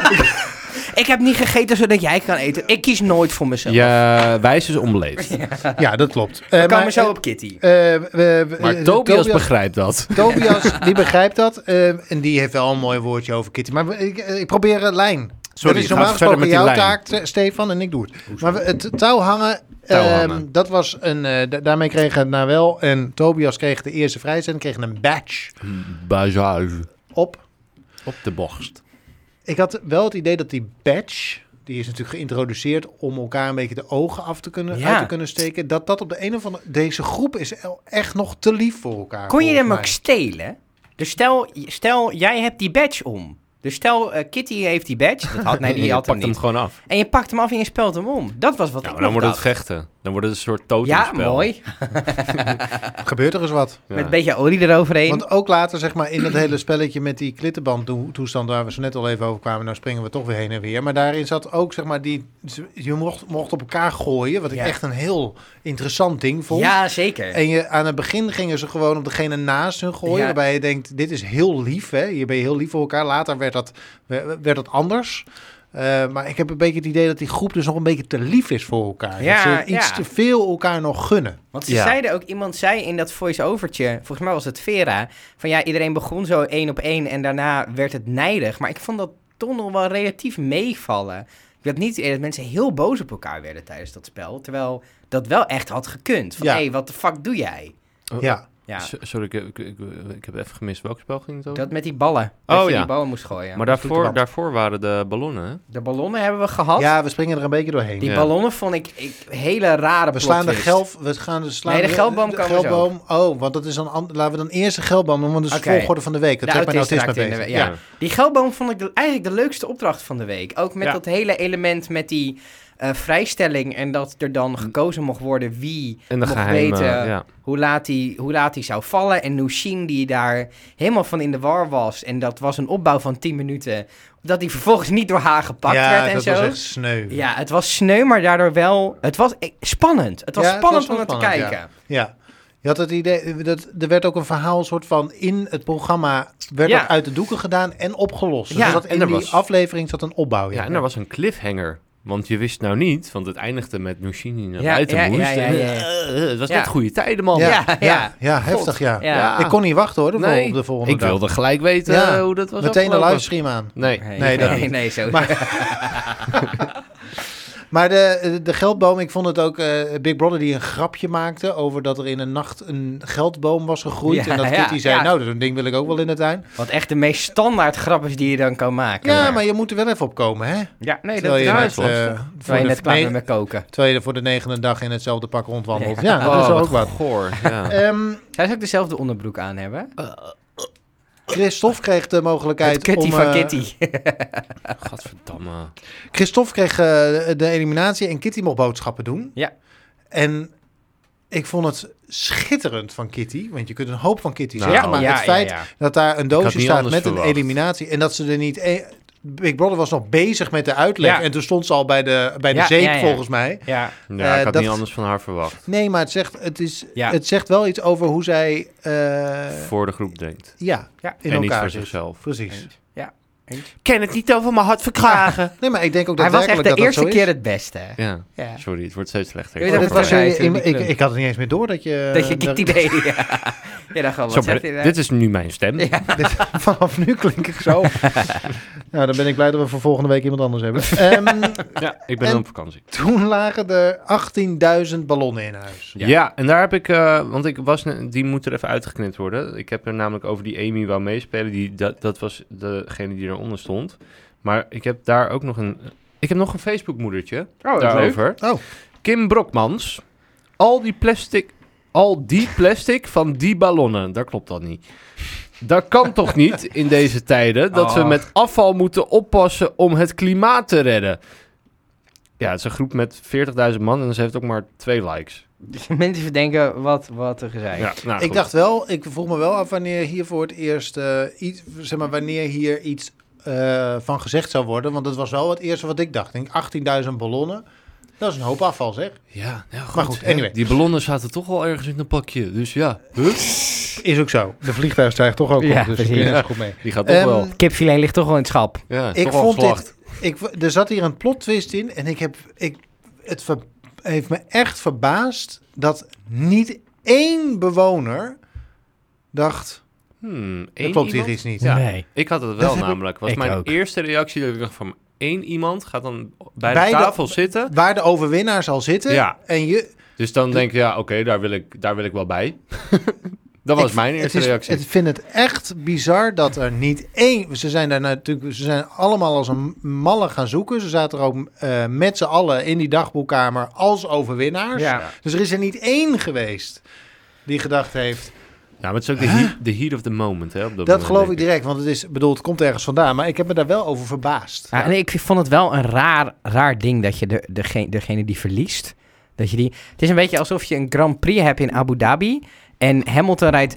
A: Ik heb niet gegeten zodat jij kan eten. Ik kies nooit voor mezelf.
C: Ja, wijs is dus onbeleefd.
B: Ja, dat klopt. Eh,
A: We komen
B: maar-
A: zo op Kitty.
B: eh, we- we-
C: Maar
B: eh,
C: Tobias begrijpt dat.
B: Tobias, die begrijpt dat. eh, en die heeft wel een mooi woordje over Kitty. Maar we- ik, eh, ik probeer een lijn.
C: Sorry,
B: dat is
C: ga
B: normaal
C: verder
B: gesproken
C: met die
B: jouw
C: lijn.
B: taak, T- Stefan, en ik doe het. Maar we- het touw hangen,
C: Touw
B: ehm,
C: hangen.
B: dat was een... eh, da- daarmee kregen Nawel en Tobias kregen de eerste vrijzending, kregen een badge
C: Bazuif.
B: op.
C: Op de borst.
B: Ik had wel het idee dat die badge, die is natuurlijk geïntroduceerd om elkaar een beetje de ogen af te kunnen,
A: Ja.
B: uit te kunnen steken, dat dat op de een of andere... Deze groep is el- echt nog te lief voor elkaar.
A: Kon je
B: volgens
A: hem ook
B: mij.
A: stelen? Dus stel, stel, jij hebt die badge om. Dus stel, eh, Kitty heeft die badge. Dat had, nee,
C: je
A: die had hem
C: pakt hem
A: niet.
C: gewoon af.
A: En je pakt hem af en je spelt hem om. Dat was wat
C: Nou,
A: ik nog
C: dan wordt het
A: dacht.
C: gechten. Dan wordt het een soort
A: Ja,
C: totemspel.
A: mooi.
B: Gebeurt er eens wat?
A: Met een beetje olie eroverheen.
B: Want ook later, zeg maar, in dat hele spelletje met die klittenbandtoestand waar we zo net al even over kwamen, nou springen we toch weer heen en weer. Maar daarin zat ook, zeg maar, die, je mocht, mocht op elkaar gooien, wat ik
A: Ja.
B: echt een heel interessant ding vond.
A: ja, zeker.
B: En je, aan het begin gingen ze gewoon op degene naast hun gooien,
A: Ja.
B: waarbij je denkt, dit is heel lief, hè? je bent heel lief voor elkaar. Later werd dat, werd werd dat anders. Eh, maar ik heb een beetje het idee dat die groep dus nog een beetje te lief is voor elkaar.
A: Ja,
B: dat ze iets
A: ja.
B: te veel elkaar nog gunnen.
A: Want ze
C: Ja.
A: zeiden ook, iemand zei in dat voice-overtje, volgens mij was het Vera, van ja, iedereen begon zo één op één en daarna werd het nijdig. Maar ik vond dat toch nog wel relatief meevallen. Ik had niet eerder dat mensen heel boos op elkaar werden tijdens dat spel, terwijl dat wel echt had gekund. Van,
B: Ja.
A: hé, wat de fuck doe jij?
C: Oh.
B: Ja,
A: Ja,
C: S- Sorry, ik, ik, ik, ik heb even gemist. Welk spel ging het over?
A: dat met die ballen. Dat
C: Oh,
A: je
C: ja.
A: die ballen moest gooien.
C: maar
B: doet de
C: daarvoor,
B: band.
C: daarvoor waren de ballonnen, hè?
A: De ballonnen hebben we gehad.
B: ja, we springen er een beetje doorheen.
A: Die
C: Ja.
A: ballonnen vond ik, ik hele rare
B: We slaan de
A: plot twist.
B: gelf, we gaan de slaan
A: Nee, de geldboom komen we zo.
B: geldboom. Oh, want dat is dan an- laten we dan eerst de geldboom doen, want dat is
A: Oké. oh,
B: de volgorde van de week. Dat
A: De
B: trekt mijn
A: autist
B: autisme
A: raakt in de
B: bezig.
A: we- ja. Die geldboom vond ik de- eigenlijk de leukste opdracht van de week. Ook met
C: Ja.
A: dat hele element met die eh, vrijstelling en dat er
B: Mm.
A: dan gekozen mocht worden wie
C: En de
A: mocht
C: geheime...
A: weten
C: ja.
A: hoe laat hij hoe laat hij zou vallen. En Nushin die daar helemaal van in de war was en dat was een opbouw van 10 minuten, dat hij vervolgens niet door haar gepakt
B: Ja,
A: werd en
B: dat
A: zo.
B: was echt sneu. Ja.
A: Ja, het was sneu, maar daardoor wel. Het was eh, spannend. Het was
B: Ja, het
A: spannend
B: was wel
A: om naar te
B: spannend, ja.
A: kijken.
B: Je had het idee, dat, er werd ook een verhaal soort van in het programma, werd
A: Ja.
B: ook uit de doeken gedaan en opgelost. Dus
A: Ja,
B: er zat
C: en
B: in
C: er
B: die
C: was-
B: aflevering zat een opbouw.
C: Oh Ja, en er was een cliffhanger. Want je wist nou niet, want het eindigde met Nushini naar
A: Ja,
C: buiten
A: ja,
C: moest.
A: ja, ja,
C: En,
A: ja.
C: eh, eh, het was
A: Ja.
C: net goede tijden, man.
B: ja,
A: Ja,
B: ja,
A: ja.
B: ja, heftig ja.
A: Ja.
B: Ik kon niet wachten hoor, de, vol-
C: Nee,
B: op de volgende
C: Ik wilde gelijk weten
B: Ja.
C: eh, hoe dat was
B: dag. Meteen een
C: afgelopen.
B: livestream aan.
C: Nee.
B: Nee, dat
A: nee,
B: niet.
A: nee, zo.
B: Maar de, de geldboom, ik vond het ook eh, Big Brother die een grapje maakte over dat er in een nacht een geldboom was gegroeid.
A: Ja,
B: en dat
A: ja,
B: Kitty zei,
A: ja.
B: nou, dat ding wil ik ook wel in de tuin.
A: Wat echt de meest standaard grap is die je dan kan maken.
B: Ja, maar je moet er wel even op komen, hè?
A: Ja, nee, dat
B: Terwijl
A: is
B: je,
C: ja,
B: net,
C: is lastig.
B: eh, voor
A: Terwijl je
B: de,
A: net klaar
B: nee,
A: bent met koken.
B: terwijl je er voor de negende dag in hetzelfde pak rondwandelt. Ja,
A: Ja.
B: dat is
C: Oh,
B: ook wat.
C: goor. Ja.
B: Ehm,
A: Oh, Zij zou ook dezelfde onderbroek aan hebben.
B: Christophe kreeg de
A: Het
B: mogelijkheid
A: Kitty
B: om...
A: van
B: eh,
A: Kitty.
C: Gadverdamme.
B: Christophe kreeg eh, de eliminatie en Kitty mocht boodschappen doen.
A: Ja.
B: En ik vond het schitterend van Kitty, want je kunt een hoop van Kitty
C: Nou,
B: zeggen, maar
A: ja,
B: het feit
A: ja, ja.
B: dat daar een
C: Ik had
B: doosje
C: niet
B: staat met
C: anders
B: een
C: verwacht.
B: eliminatie en dat ze er niet... e- Big Brother was nog bezig met de uitleg
A: Ja.
B: en toen stond ze al bij de, bij de
A: Ja,
B: zeep
A: ja, ja.
B: volgens mij.
A: Ja,
C: Ja,
B: Eh,
C: ik had
B: dat-
C: niet anders van haar verwacht.
B: Nee, maar het zegt, het, is,
A: Ja.
B: het zegt wel iets over hoe zij eh,
C: voor de groep denkt.
B: ja,
A: Ja.
B: in
C: en niet
B: elkaar dus.
C: voor
B: zit.
C: zichzelf.
B: Precies.
C: Ik ken het niet over mijn hart verkragen.
B: Nee, maar ik denk ook
A: hij
B: dat
A: was echt de
B: dat dat
A: eerste
B: zo is.
A: keer het beste.
C: Ja,
A: Ja. Eh,
C: sorry, het wordt steeds slechter.
A: Ik weet
B: Dat
A: dat
B: was,
A: het
B: eh,
A: eruit,
B: in-
A: die
B: ik,
A: kleur.
B: ik had het niet eens meer door dat je...
A: Dat je
B: eh,
A: Kitty deed. Ja, ja dan gewoon,
C: Zo,
A: wat zeg je
C: maar
A: daar?
C: dit is nu mijn stem.
B: Dit- vanaf nu klink ik zo. nou, dan ben ik blij dat we voor volgende week iemand anders hebben. Ehm,
C: Ja, ik ben
B: En-
C: op vakantie.
B: toen lagen er 18.000 ballonnen in huis.
C: Ja. en daar heb ik, eh, want ik was, ne- die moet er even uitgeknipt worden. Ik heb er namelijk over die Amy wou meespelen, die, dat, dat was degene die eronder stond. Maar ik heb daar ook nog een, ik heb nog een Facebook moedertje
A: Oh, dat is leuk.
C: daarover.
B: Oh.
C: Kim Brokmans, al die plastic, al die plastic van die ballonnen, daar klopt dat niet. Dat kan toch niet in deze tijden dat we
A: Ach.
C: met afval moeten oppassen om het klimaat te redden? Ja, het is een groep met 40.000 man en ze heeft ook maar twee likes.
A: Dus Mensen verdenken wat, wat er gezegd.
C: Ja, nou,
B: ik
C: goed.
B: dacht wel, ik vroeg me wel af wanneer hier voor het eerst eh, iets, zeg maar, wanneer hier iets eh, van gezegd zou worden. Want dat was wel het eerste wat ik dacht. Ik denk 18.000 ballonnen. Dat is een hoop afval, zeg.
C: Ja, nou goed.
B: Maar goed, eh, anyway.
C: Die ballonnen zaten toch wel ergens in een pakje. Dus ja,
B: Is ook zo. De vliegtuig stijgt toch ook
A: Ja,
B: op, dus
A: precies.
B: ik ben er goed mee.
C: die gaat toch
B: Ehm,
C: wel.
A: Kipfilet ligt toch wel in het schap.
C: Ja,
B: ik
C: toch wel
B: vond
C: geslacht.
B: dit, ik, v- er zat hier een plot twist in en ik heb, ik, het ver- heeft me echt verbaasd dat niet één bewoner dacht,
C: Hmm,
B: er
C: één
B: klopt
C: iemand?
B: hier iets niet.
C: Ja.
A: Nee.
C: Ik had het
B: Dat
C: wel
B: heb ik-
C: namelijk. was
A: Ik
C: mijn
A: ook.
C: eerste reactie dat ik dacht van... één iemand gaat dan bij,
B: Bij
C: de
B: de-
C: tafel zitten.
B: Waar de overwinnaars al zitten
C: Ja.
B: en je...
C: Dus dan denk ik, ja, oké, daar, wil ik- daar wil ik wel bij. dat was
B: ik-
C: mijn
B: het
C: eerste
B: is-
C: reactie.
B: Ik vind het echt bizar dat er niet één... Ze zijn daar natuurlijk... Ze zijn allemaal als een malle gaan zoeken. Ze zaten er ook eh, met z'n allen in die dagboekkamer als overwinnaars.
A: Ja.
B: Dus er is er niet één geweest die gedacht heeft...
C: ja, Nou, maar het is ook de heat, the heat of the moment, hè. op dat
B: Dat
C: moment,
B: geloof ik
C: denk
B: direct, want het is, bedoel, het komt ergens vandaan, maar ik heb me daar wel over verbaasd.
A: Ja, en Ah, ik vond het wel een raar, raar ding dat je de, degene, degene die verliest, dat je die... Het is een beetje alsof je een Grand Prix hebt in Abu Dhabi en Hamilton rijdt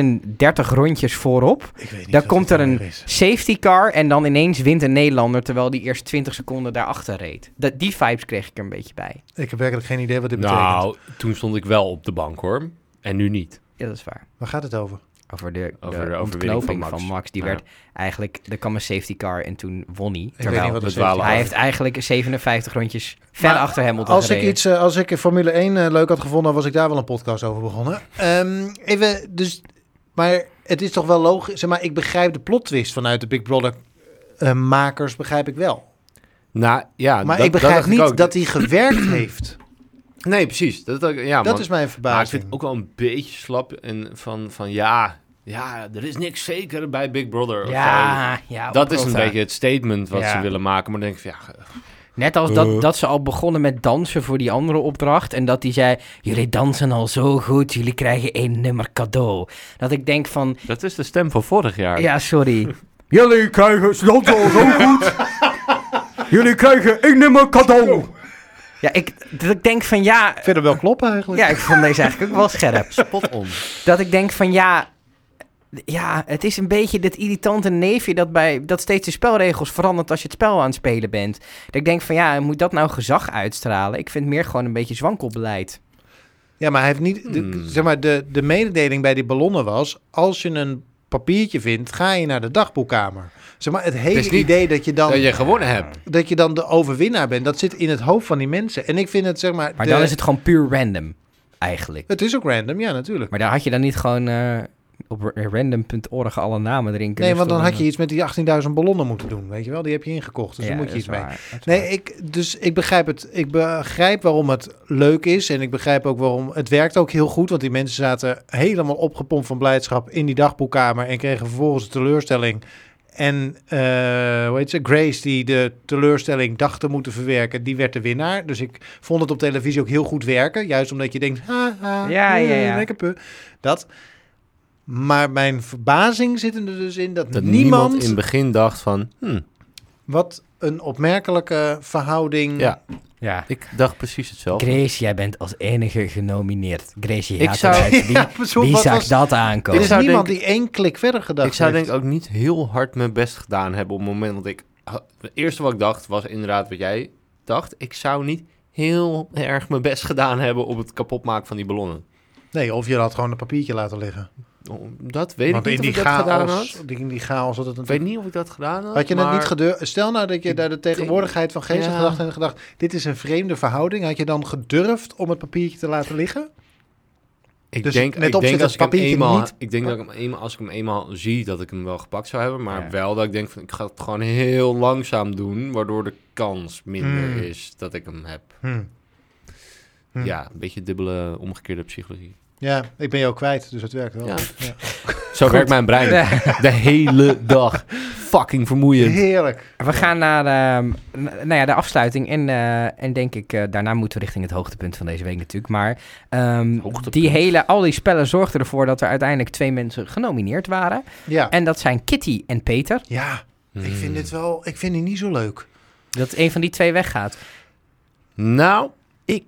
A: 37 rondjes voorop.
B: Ik weet niet
A: Dan
B: wat
A: komt
B: het
A: er een
B: nou is.
A: safety car en dan ineens wint een Nederlander terwijl die eerst 20 seconden daarachter reed. Dat, die vibes kreeg ik er een beetje bij.
B: Ik heb werkelijk geen idee wat dit betekent.
C: Nou, toen stond ik wel op de bank, hoor. En nu niet.
A: Ja, dat is waar.
B: Waar gaat het over?
A: Over de,
C: Over
A: de,
C: de overwinning
A: ontknoping van
C: van
A: Max.
C: Max.
A: Die
C: Ja.
A: werd eigenlijk... Er kwam een safety car en toen won hij.
B: Ik weet niet
A: Terwijl
B: wat
C: de
B: het
C: nou, dwalen-
A: hij heeft eigenlijk 57 rondjes ver
B: Maar
A: achter Hamilton
B: Als ik,
A: gereden.
B: iets, eh, als ik Formule 1 eh, leuk had gevonden, was ik daar wel een podcast over begonnen. Ehm, even, dus, maar het is toch wel logisch. Zeg maar, ik begrijp de plot twist vanuit de Big Brother eh, makers, begrijp ik wel.
C: Nou, ja,
B: Maar
C: dat-
B: ik
C: dat
B: begrijp
C: dacht
B: niet
C: ook.
B: dat hij gewerkt heeft.
C: Nee, precies. Dat, dat, ja,
B: dat
C: man.
B: is mijn
C: Maar ik
B: verbazing.
C: vind het ook wel een beetje slap en van, van ja, ja, er is niks zeker bij Big Brother. of zo.
A: Ja, ja.
C: Dat is een
A: oprota.
C: beetje het statement wat
A: Ja.
C: ze willen maken. Maar dan denk ik van ja,
A: Net als
C: Eh.
A: dat, dat ze al begonnen met dansen voor die andere opdracht. En dat die zei, jullie dansen al zo goed, jullie krijgen één nummer cadeau. Dat ik denk van,
C: dat is de stem van vorig jaar.
A: ja, sorry. jullie krijgen, ze dansen al zo goed. jullie krijgen één nummer cadeau. Ja, ik, dat ik denk van, ja...
B: Verder wel kloppen eigenlijk.
A: Ja, ik vond deze eigenlijk ook wel scherp.
C: Spot on.
A: dat ik denk van ja. Ja, het is een beetje dit irritante neefje dat, bij, dat steeds de spelregels verandert als je het spel aan het spelen bent. Dat ik denk van ja, moet dat nou gezag uitstralen? Ik vind het meer gewoon een beetje zwankelbeleid.
B: Ja, maar hij heeft niet. de-
C: Hmm.
B: Zeg maar, de, de mededeling bij die ballonnen was: als je een papiertje vindt, ga je naar de dagboekkamer. Zeg maar, het hele
C: is niet
B: idee dat je, dan,
C: Dat je gewonnen hebt.
B: dat je dan de overwinnaar bent, dat zit in het hoofd van die mensen. En ik vind het, zeg maar.
A: Maar
B: de-
A: dan is het gewoon puur random, eigenlijk.
B: Het is ook random, ja, natuurlijk.
A: Maar daar had je dan niet gewoon eh, op random.org alle namen erin kunnen
B: Nee, want dan
A: stoppen?
B: had je iets met die 18.000 ballonnen moeten doen, weet je wel? Die heb je ingekocht, dus
A: Ja,
B: daar moet
A: dat
B: je
A: is
B: iets mee.
A: waar, dat is
B: Nee,
A: waar.
B: ik, dus ik begrijp het. Ik begrijp waarom het leuk is en ik begrijp ook waarom het werkt ook heel goed. Want die mensen zaten helemaal opgepompt van blijdschap in die dagboekkamer en kregen vervolgens de teleurstelling. En eh hoe heet ze? Grace, die de teleurstelling dacht te moeten verwerken, die werd de winnaar. Dus ik vond het op televisie ook heel goed werken. Juist omdat je denkt, ha, ha,
A: Ja, ja,
B: eh,
A: ja.
B: lekker pu. Dat. Maar mijn verbazing zit er dus in dat,
C: Dat niemand,
B: niemand,
C: in het begin dacht van... hm,
B: wat een opmerkelijke verhouding.
C: Ja.
A: Ja.
C: ik dacht precies hetzelfde.
A: Grace, jij bent als enige genomineerd. Grace, je
C: Ik
A: haat
C: zou-
A: eruit. Wie,
B: Ja, maar zo,
A: wie
B: wat
A: zag
B: was-
A: dat
B: Er
A: aankomen?
B: is
C: Ik zou
B: niemand
C: denken-
B: die één klik verder gedacht
C: Ik zou
B: heeft.
C: denk ik ook niet heel hard mijn best gedaan hebben op het moment. Want ik, het eerste wat ik dacht was inderdaad wat jij dacht. Ik zou niet heel erg mijn best gedaan hebben op het kapotmaken van die ballonnen. Nou,
B: Nee, of je had gewoon een papiertje laten liggen.
C: Dat weet
B: Want
C: ik
B: in
C: niet
B: die
C: of ik dat gedaan
B: chaos,
C: had.
B: in die chaos had het
C: Ik weet
B: natuurlijk...
C: niet of ik dat gedaan had.
B: Had je het
C: maar-
B: niet gedur... Stel nou dat je
C: Ik
B: daar de tegenwoordigheid van geest had
C: Ja.
B: gedacht en gedacht... dit is een vreemde verhouding. Had je dan gedurfd om het papiertje te laten liggen?
C: Ik
B: Dus
C: denk,
B: let
C: ik
B: op,
C: denk
B: zit
C: als ik
B: dat
C: hem
B: papiertje
C: eenmaal,
B: niet-
C: ik denk dat ik hem eenmaal, als ik hem eenmaal zie, dat ik hem wel gepakt zou hebben, maar
A: Ja.
C: wel dat ik denk van, ik ga het gewoon heel langzaam doen, waardoor de kans minder
B: Hmm.
C: is dat ik hem heb.
B: Hm. Hmm.
C: Ja, een beetje dubbele omgekeerde psychologie.
B: Ja, ik ben jou kwijt, dus het werkt wel.
C: Ja.
B: Ja.
C: Zo werkt mijn brein de hele dag. Fucking vermoeiend.
B: Heerlijk.
A: We gaan naar ehm, n- nou ja, de afsluiting. En, eh, en denk ik, eh, daarna moeten we richting het hoogtepunt van deze week natuurlijk. Maar ehm,
C: Hoogtepunt.
A: die hele, al die spellen zorgden ervoor dat er uiteindelijk twee mensen genomineerd waren.
B: Ja.
A: En Hmm. dat zijn Kitty en Peter.
B: Ja,
C: Hmm.
B: ik vind dit wel... Ik vind die niet zo leuk.
A: Dat een van die twee weggaat.
C: Nou, ik,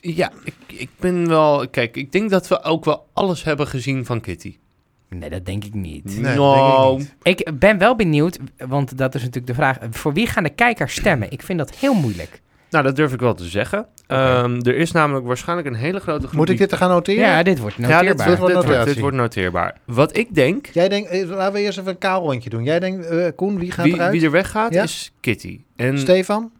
C: ja, ik, ik ben wel, kijk, ik denk dat we ook wel alles hebben gezien van Kitty.
A: Nee, dat denk ik niet.
B: denk ik
C: nou,
B: niet.
A: Ik ben wel benieuwd, want dat is natuurlijk de vraag. Voor wie gaan de kijkers stemmen? Ik vind dat heel moeilijk.
C: nou, dat durf ik wel te zeggen. Ehm, er is namelijk waarschijnlijk een hele grote groep
B: Moet ik
C: die-
B: dit gaan noteren?
A: Ja, dit wordt noteerbaar.
C: Ja, dit,
B: Dit wordt
C: dit, wordt, dit
B: notatie.
C: wordt noteerbaar. Wat ik denk,
B: Jij denkt... eh, Laten we eerst even een kaal rondje doen. Jij denkt, eh, Koen, wie gaat
C: wie,
B: eruit?
C: wie er weggaat,
B: Ja?
C: is Kitty. En
B: Stefan?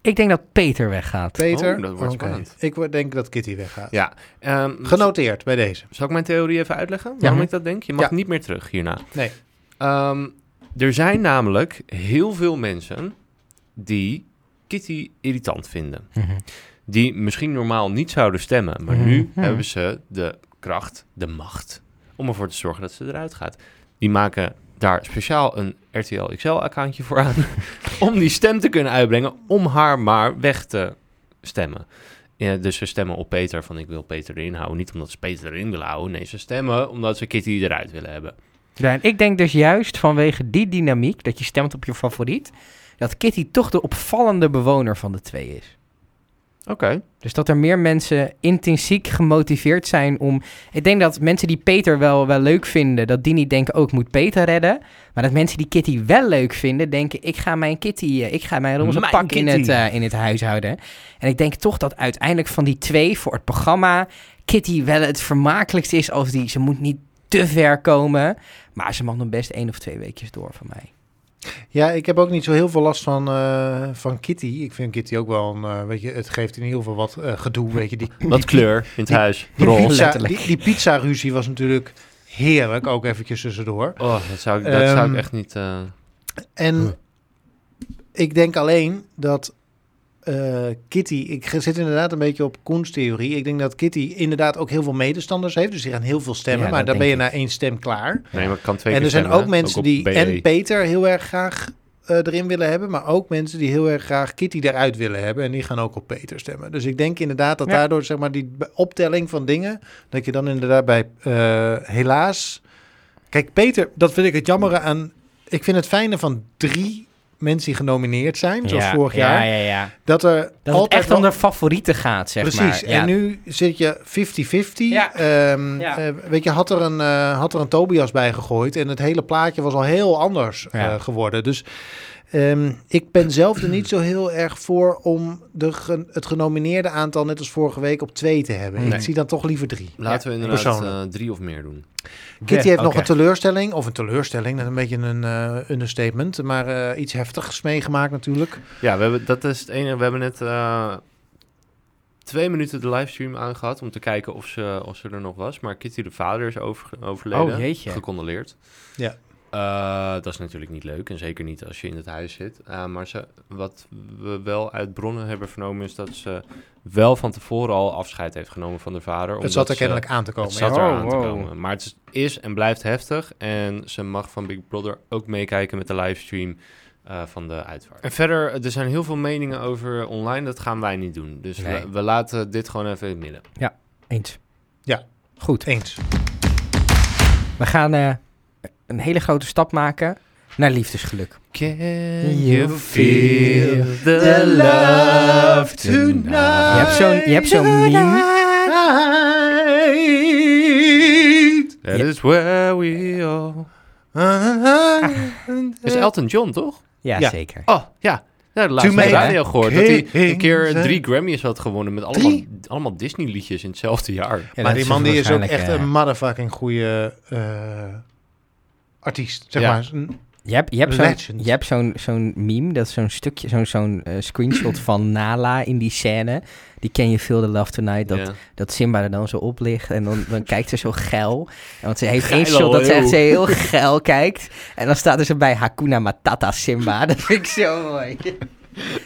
A: Ik denk dat Peter weggaat.
B: Peter?
C: Oh, dat wordt
B: Oké.
C: spannend.
B: Ik wo- denk dat Kitty weggaat.
C: ja, ehm,
B: Genoteerd bij deze.
C: zal ik mijn theorie even uitleggen? Waarom ik dat denk? Je mag
B: Ja.
C: niet meer terug hierna.
B: Nee.
C: Ehm, er zijn namelijk heel veel mensen die Kitty irritant vinden.
A: Mhm.
C: Die misschien normaal niet zouden stemmen, maar nu
A: Mhm.
C: hebben ze de kracht, de macht, om ervoor te zorgen dat ze eruit gaat. Die maken daar speciaal een RTL XL-accountje voor aan, om die stem te kunnen uitbrengen, om haar maar weg te stemmen. Ja, dus ze stemmen op Peter, van ik wil Peter erin houden. Niet omdat ze Peter erin willen houden, nee, ze stemmen omdat ze Kitty eruit willen hebben.
A: Ja, en ik denk dus juist vanwege die dynamiek, dat je stemt op je favoriet, dat Kitty toch de opvallende bewoner van de twee is.
C: Oké.
A: Dus dat er meer mensen intrinsiek gemotiveerd zijn om... Ik denk dat mensen die Peter wel, wel leuk vinden, dat die niet denken, ook moet Peter redden. Maar dat mensen die Kitty wel leuk vinden, denken, ik ga mijn Kitty, eh, ik ga mijn roze
C: Mijn
A: pak in
C: Kitty.
A: het, eh, in het huishouden. En ik denk toch dat uiteindelijk van die twee voor het programma Kitty wel het vermakelijkst is als die... Ze moet niet te ver komen, maar ze mag nog best één of twee weekjes door van mij.
B: Ja, ik heb ook niet zo heel veel last van, eh, van Kitty. Ik vind Kitty ook wel een, eh, weet je, het geeft in ieder geval wat eh, gedoe, weet je. Die,
C: Wat kleur in het huis?
B: die
C: Roze.
B: pizza,
A: letterlijk.
B: die, die pizza ruzie was natuurlijk heerlijk, ook eventjes tussendoor.
C: Oh, dat zou ik, dat zou
B: Ehm,
C: ik echt niet... eh,
B: En
C: Huh.
B: ik denk alleen dat eh, Kitty, ik ge- zit inderdaad een beetje op Koens theorie. Ik denk dat Kitty inderdaad ook heel veel medestanders heeft, dus die gaan heel veel stemmen,
A: Ja,
B: maar
A: dat
B: dan ben je
A: denk
B: na één stem klaar.
C: Nee, maar ik kan twee
B: En
C: keer
B: er zijn
C: stemmen,
B: ook
C: hè?
B: mensen
C: op E.
B: die
C: BE.
B: en Peter heel erg graag eh, erin willen hebben, maar ook mensen die heel erg graag Kitty eruit willen hebben en die gaan ook op Peter stemmen. Dus ik denk inderdaad dat
A: Ja.
B: daardoor zeg maar die be- optelling van dingen dat je dan inderdaad bij eh, helaas kijk Peter, dat vind ik het jammere aan. Ik vind het fijne van drie mensen die genomineerd zijn, zoals vorig jaar,
A: Ja, ja, ja.
B: dat er
A: Dat
B: altijd
A: het echt om
B: wel-
A: de favorieten gaat, zeg maar.
B: Precies,
A: Ja.
B: en nu zit je 50-50.
A: Ja.
B: Ehm,
A: Ja.
B: eh, weet je, had er, een, eh, had er een Tobias bij gegooid en het hele plaatje was al heel anders
A: Ja.
B: eh, geworden. Dus ehm, ik ben zelf er niet zo heel erg voor om de gen- het genomineerde aantal net als vorige week op twee te hebben.
A: Nee.
B: Ik zie dan toch liever drie.
C: Laten we inderdaad
B: persoonlijk.
C: eh, drie of meer doen.
B: Kitty
A: Ja,
B: heeft nog
A: oké.
B: een teleurstelling, of een teleurstelling, dat is een beetje een eh, understatement, maar eh, iets heftigs meegemaakt natuurlijk.
A: Oh,
C: Ja, we hebben, dat is het enige. We hebben net eh, twee minuten de livestream aangehad... om te kijken of ze, of ze er nog was. Maar Kitty de vader is over, overleden.
A: Oh, jeetje.
C: Gecondoleerd.
B: Ja.
C: Eh, dat is natuurlijk niet leuk. En zeker niet als je in het huis zit. Eh, maar ze, wat we wel uit bronnen hebben vernomen... is dat ze wel van tevoren al afscheid heeft genomen van haar vader.
B: het
C: omdat
B: zat
A: eh,
B: er
C: ze-
B: kennelijk aan te komen.
C: Het
B: ja.
C: zat er
A: Oh,
C: aan te
A: wow.
C: komen. Maar het is en blijft heftig. En ze mag van Big Brother ook meekijken met de livestream eh, van de uitvaart. En verder, eh, er zijn heel veel meningen over online. Dat gaan wij niet doen. Dus
A: Nee.
C: we, we laten dit gewoon even in het midden.
A: Eens.
B: Ja.
A: Goed.
B: Eens.
A: We gaan eh, een hele grote stap maken naar liefdesgeluk.
C: Can
A: you
C: you feel the
B: love
C: love
B: tonight?
C: tonight?
A: Je hebt zo'n, je hebt zo'n meme.
C: That is where we all... Dat is Elton John, toch?
A: Ja,
B: Ja.
A: zeker.
C: Oh, ja. Ja, de laatste
B: To
C: op de
A: make
C: radio gehoord
B: a
C: dat hij een
B: king
C: keer
B: zijn.
C: drie Grammys had gewonnen met allemaal,
B: Drie?
C: allemaal Disney-liedjes in hetzelfde jaar.
A: Ja,
B: maar
A: dat
B: die
A: is
B: man die is ook
A: waarschijnlijk,
B: echt
A: eh,
B: een motherfucking goede eh, artiest, zeg
C: Ja.
B: maar. Een-
A: Je hebt, je hebt zo'n,
B: Legend.
A: je hebt zo'n, zo'n meme, dat is zo'n stukje, zo'n, zo'n eh, screenshot van Nala in die scène. Die ken je veel, The Love Tonight. Dat,
C: Ja.
A: dat Simba er dan zo op ligt en dan, dan kijkt ze zo geil. En Want ze heeft
C: Geil,
A: één shot dat ze echt
C: joh.
A: zo heel geil kijkt. En dan staat er zo bij Hakuna Matata Simba. Dat vind ik zo mooi.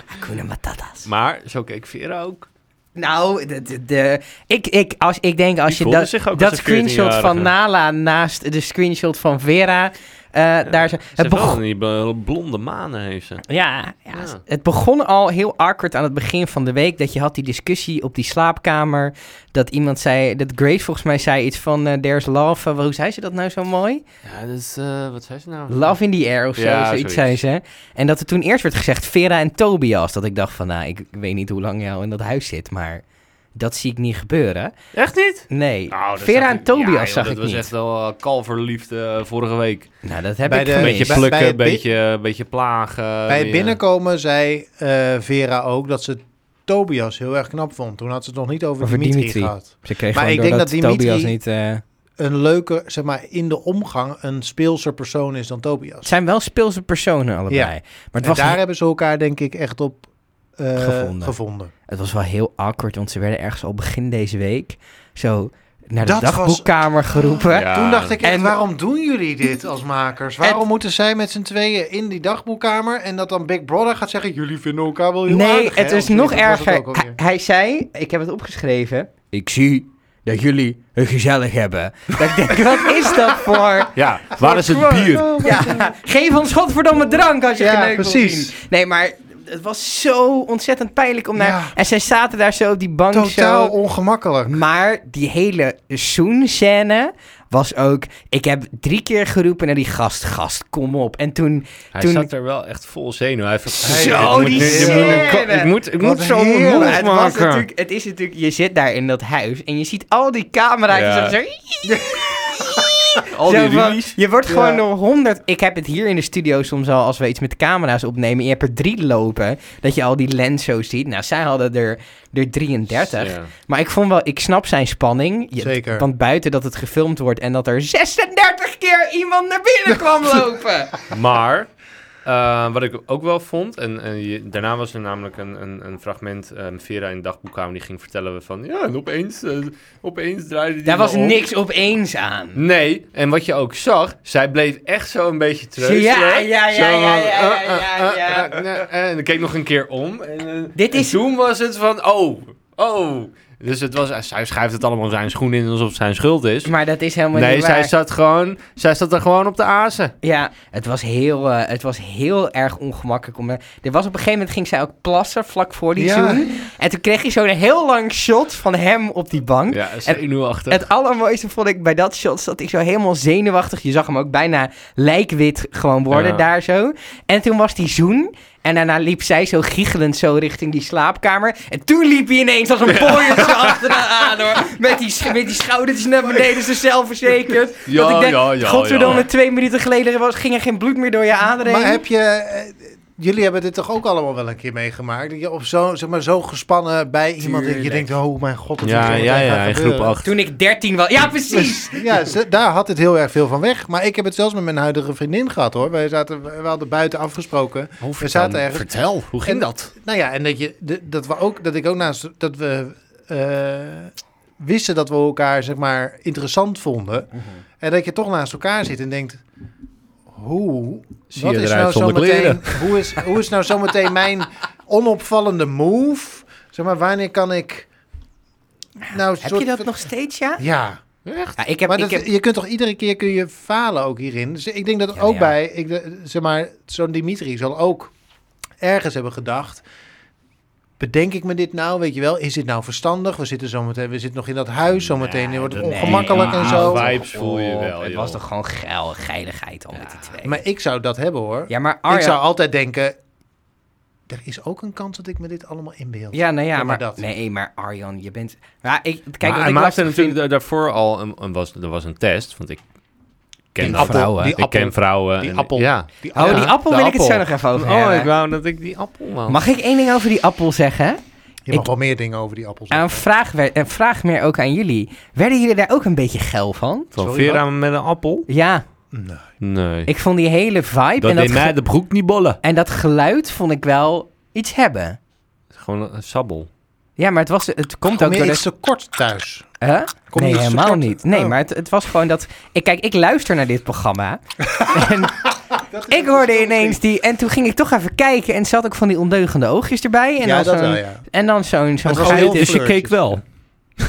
A: Hakuna Matatas.
C: Maar zo keek Vera ook.
A: Nou, de, de, de- ik, ik, als, ik denk als
C: Die
A: je
C: voelde
A: dat,
C: zich ook
A: dat
C: als een
A: screenshot van
C: 14-jarige.
A: Nala naast de screenshot van Vera... eh, daar zo,
C: Ze
A: het
C: heeft wel
A: begon,
C: van die bl- blonde manen heeft ze.
A: Ja, ja,
C: Ja.
A: het begon al heel awkward aan het begin van de week. Dat je had die discussie op die slaapkamer. Dat iemand zei, dat Grace volgens mij zei iets van eh, There's Love. eh, hoe zei ze dat nou zo mooi?
C: Ja, dus eh, wat zei ze nou?
A: Love in the air of zo,
C: Ja,
A: zoiets
C: zoiets.
A: zei ze. En dat er toen eerst werd gezegd Vera en Tobias. Dat ik dacht van, nou, ik weet niet hoe lang jij al in dat huis zit, maar dat zie ik niet gebeuren.
C: Echt niet?
A: Nee,
C: Nou, dat
A: Vera
C: zag
A: en
C: ik-
A: Tobias
C: ja, joh,
A: zag
C: dat
A: ik
C: was
A: niet.
C: echt wel eh, kalverliefde eh, vorige week.
A: Nou, dat heb
B: Bij
A: ik
B: de-
A: gemist.
C: beetje
B: bij-
C: plukken,
B: bij het
C: een beetje, een beetje plagen.
B: Bij het
C: weer-
B: binnenkomen zei eh, Vera ook dat ze Tobias heel erg knap vond. Toen had ze het nog niet over,
A: Over
B: Dimitri,
A: Dimitri.
B: gehad.
A: Ze kreeg
B: Maar
A: gewoon
B: ik denk
A: doordat
B: dat Dimitri-
A: Tobias niet... eh,
B: Een leuke, zeg maar, in de omgang een speelser persoon is dan
A: het
B: Tobias.
A: zijn wel speelse personen allebei.
B: Ja.
A: Maar het
B: en
A: was
B: daar hebben ze elkaar denk ik echt op eh,
A: Gevonden.
B: gevonden.
A: Het was wel heel awkward, want ze werden ergens al begin deze week zo naar de
B: Dat was-
A: dagboekkamer geroepen.
C: Ja.
B: Toen dacht ik echt,
A: En-
B: waarom doen jullie dit als makers? Waarom moeten zij met z'n tweeën in die dagboekkamer en dat dan Big Brother gaat zeggen, jullie vinden elkaar wel heel
A: Nee,
B: aardig, hè?
A: het is
B: Of
A: nog
B: zoiets, dat was het
A: erger.
B: ook alweer.
A: Hij, hij zei, ik heb het opgeschreven. Ik zie dat jullie het gezellig hebben. Dat ik denk, wat is dat voor...
C: Ja, waar is het bier?
A: Ja, geef ons godverdomme drank als je
B: Ja,
A: geneukt wil
B: precies.
A: zien. Nee, maar het was zo ontzettend pijnlijk om naar...
B: Ja.
A: En zij zaten daar zo op die bank zo...
B: Totaal ongemakkelijk.
A: Maar die hele zoenscène was ook... Ik heb drie keer geroepen naar die gast. Gast, kom op. En toen...
C: Hij
A: Toen-
C: zat er wel echt vol zenuw. Hij heeft-
B: Zo,
C: Hey, ik moet
B: die
C: nu- ik moet
B: scène.
C: een ka- Ik moet, ik
B: Wat
C: moet zo mijn
B: heerlijk.
C: mond
A: het, was
C: maken.
A: natuurlijk, het is natuurlijk... Je zit daar in dat huis en je ziet al die camera's.
C: Ja.
A: Zo,
C: Al die
A: zo van-
C: rulies.
A: je wordt
B: Ja.
A: gewoon door honderd... Ik heb het hier in de studio soms al als we iets met camera's opnemen. Je hebt er drie lopen. Dat je al die lens zo ziet. Nou, zij hadden er, er 33.
C: Ja.
A: Maar ik vond wel, ik snap zijn spanning. Je-
B: Zeker.
A: Want buiten dat het gefilmd wordt en dat er 36 keer iemand naar binnen kwam lopen.
C: Maar eh, wat ik ook wel vond, en, en je- daarna was er namelijk een, een, een fragment, eh, Vera in de dagboekkamer, die ging vertellen van, ja, en opeens, eh, opeens draaide die
A: Daar
C: me
A: was
C: om.
A: niks opeens aan.
C: Nee, en wat je ook zag, zij bleef echt zo een beetje treuzelen.
A: Ja, ja, ja,
C: Zo van,
A: ja, ja,
C: eh, eh,
A: ja, ja.
C: eh, eh, eh, eh, En ik keek nog een keer om. En, eh,
A: Dit
C: en
A: is-
C: toen was het van, oh, oh. Dus het was, hij schuift het allemaal zijn schoen in alsof het zijn schuld is.
A: Maar dat is helemaal
C: Nee,
A: niet waar.
C: zij zat, gewoon, zij zat er gewoon op de azen.
A: Ja, het was, heel, eh, het was heel erg ongemakkelijk. Om, eh, er was op een gegeven moment ging zij ook plassen vlak voor die
B: Ja.
A: zoen. En toen kreeg je zo'n heel lang shot van hem op die bank.
C: Ja, zenuwachtig.
A: Het allermooiste vond ik bij dat shot, dat ik zo helemaal zenuwachtig, je zag hem ook bijna lijkwit gewoon worden
C: Ja.
A: daar zo. En toen was die zoen en daarna liep zij zo giechelend zo richting die slaapkamer. En toen liep hij ineens als een pooier zo achteraan aan hoor, met die, sch- met die schoudertjes naar beneden, zo zelfverzekerd.
C: Ja,
A: dat ik denk,
C: ja, ja,
A: godverdomme,
C: ja.
A: twee minuten geleden was, ging er geen bloed meer door je aderen
B: Maar
A: heen.
B: heb je... eh, Jullie hebben dit toch ook allemaal wel een keer meegemaakt? Dat je op zo, zeg maar, zo gespannen bij iemand... en Je
A: Tuurlijk.
B: denkt, oh mijn god, dat
C: ja, ja, ja, in groep 8.
A: Toen ik dertien was, ja precies!
B: Ja, ze- daar had het heel erg veel van weg. Maar ik heb het zelfs met mijn huidige vriendin gehad, hoor. Wij zaten, we hadden buiten afgesproken.
C: Oh,
B: We zaten ergens.
C: Vertel, hoe ging
B: En-
C: dat?
B: Nou ja, en dat, je, de- dat, we ook, dat ik ook naast... Dat we eh, wisten dat we elkaar, zeg maar, interessant vonden.
C: Mhm.
B: En dat je toch naast elkaar zit en denkt... Hoe
C: Zie
B: Wat
C: je
B: is
C: eruit
B: nou
C: zonder
B: zometeen,
C: kleren?
B: hoe, is, hoe is nou zometeen mijn onopvallende move? Zeg maar, wanneer kan ik... Nou,
A: Heb
B: soort
A: je dat
B: van-
A: nog steeds, ja?
B: Ja,
A: Ja, ik heb,
B: maar
A: ik
B: dat,
A: heb
B: je kunt toch iedere keer kun je falen ook hierin. Dus ik denk dat
A: Ja,
B: ook
A: ja.
B: bij, ik, de- zeg maar, zo'n Dimitri zal ook ergens hebben gedacht... Bedenk ik me dit nou, weet je wel? Is dit nou verstandig? We zitten, zometeen, we zitten nog in dat huis, zometeen wordt het
C: Nee,
B: ongemakkelijk
C: nee,
B: en
C: maar
B: zo.
C: wij- Ah, vibes voel je wel,
A: Oh, Het
C: joh.
A: was toch gewoon geil, geiligheid al met die twee.
B: Maar ik zou dat hebben hoor.
A: ja, maar
B: Ik
A: Arjan...
B: zou altijd denken, er is ook een kans dat ik me dit allemaal inbeeld.
A: Ja, nou
B: Ja,
A: ja,
B: maar
A: maar...
B: dat.
A: Nee, maar Arjan, je bent... Ja, ik, kijk,
C: maar
A: wat
C: hij
A: ik
C: maakte
A: lastig
C: natuurlijk
A: vind-
C: da- daarvoor al een, een was, er was een test, want ik ken
A: Die appel,
C: vrouwen.
B: die
C: ik ken
B: appel,
C: vrouwen.
B: die
C: en-
B: appel.
C: Ja.
B: Die
A: Oh,
B: ja.
A: die appel
C: de
A: wil ik het zo
C: appel.
A: nog even over
C: Oh,
A: hebben.
C: ik wou dat ik die appel wou.
A: Mag ik één ding over die appel zeggen?
B: Je mag
A: ik-
B: wel meer dingen over die appels.
A: Een vraag, wer- een vraag meer ook aan jullie. Werden jullie daar ook een beetje geil van?
C: Van
B: Sorry,
C: Vera met een appel?
A: Ja,
B: Nee.
C: Nee.
A: ik vond die hele vibe
C: dat
A: en,
C: deed
A: dat
C: mij
A: ge-
C: de broek niet bollen.
A: en dat geluid vond ik wel iets hebben.
C: Gewoon een- een sabbel.
A: Ja, maar het, was, het komt ook
B: Meer
A: door
B: iets
A: de...
B: te kort thuis.
A: Huh?
B: Kom
A: nee,
B: niet eens
A: helemaal
B: tekort.
A: niet. Nee,
B: Oh.
A: maar het, het was gewoon dat... Ik, kijk, ik luister naar dit programma. en ik hoorde ineens die... En toen ging ik toch even kijken. En zat ook van die ondeugende oogjes erbij. En
B: ja,
A: dan
B: dat
A: zo'n-
B: wel, ja.
A: En dan zo'n... zo'n
B: Het was heel
A: geit-
C: Dus je
B: Fleurtjes.
C: keek wel.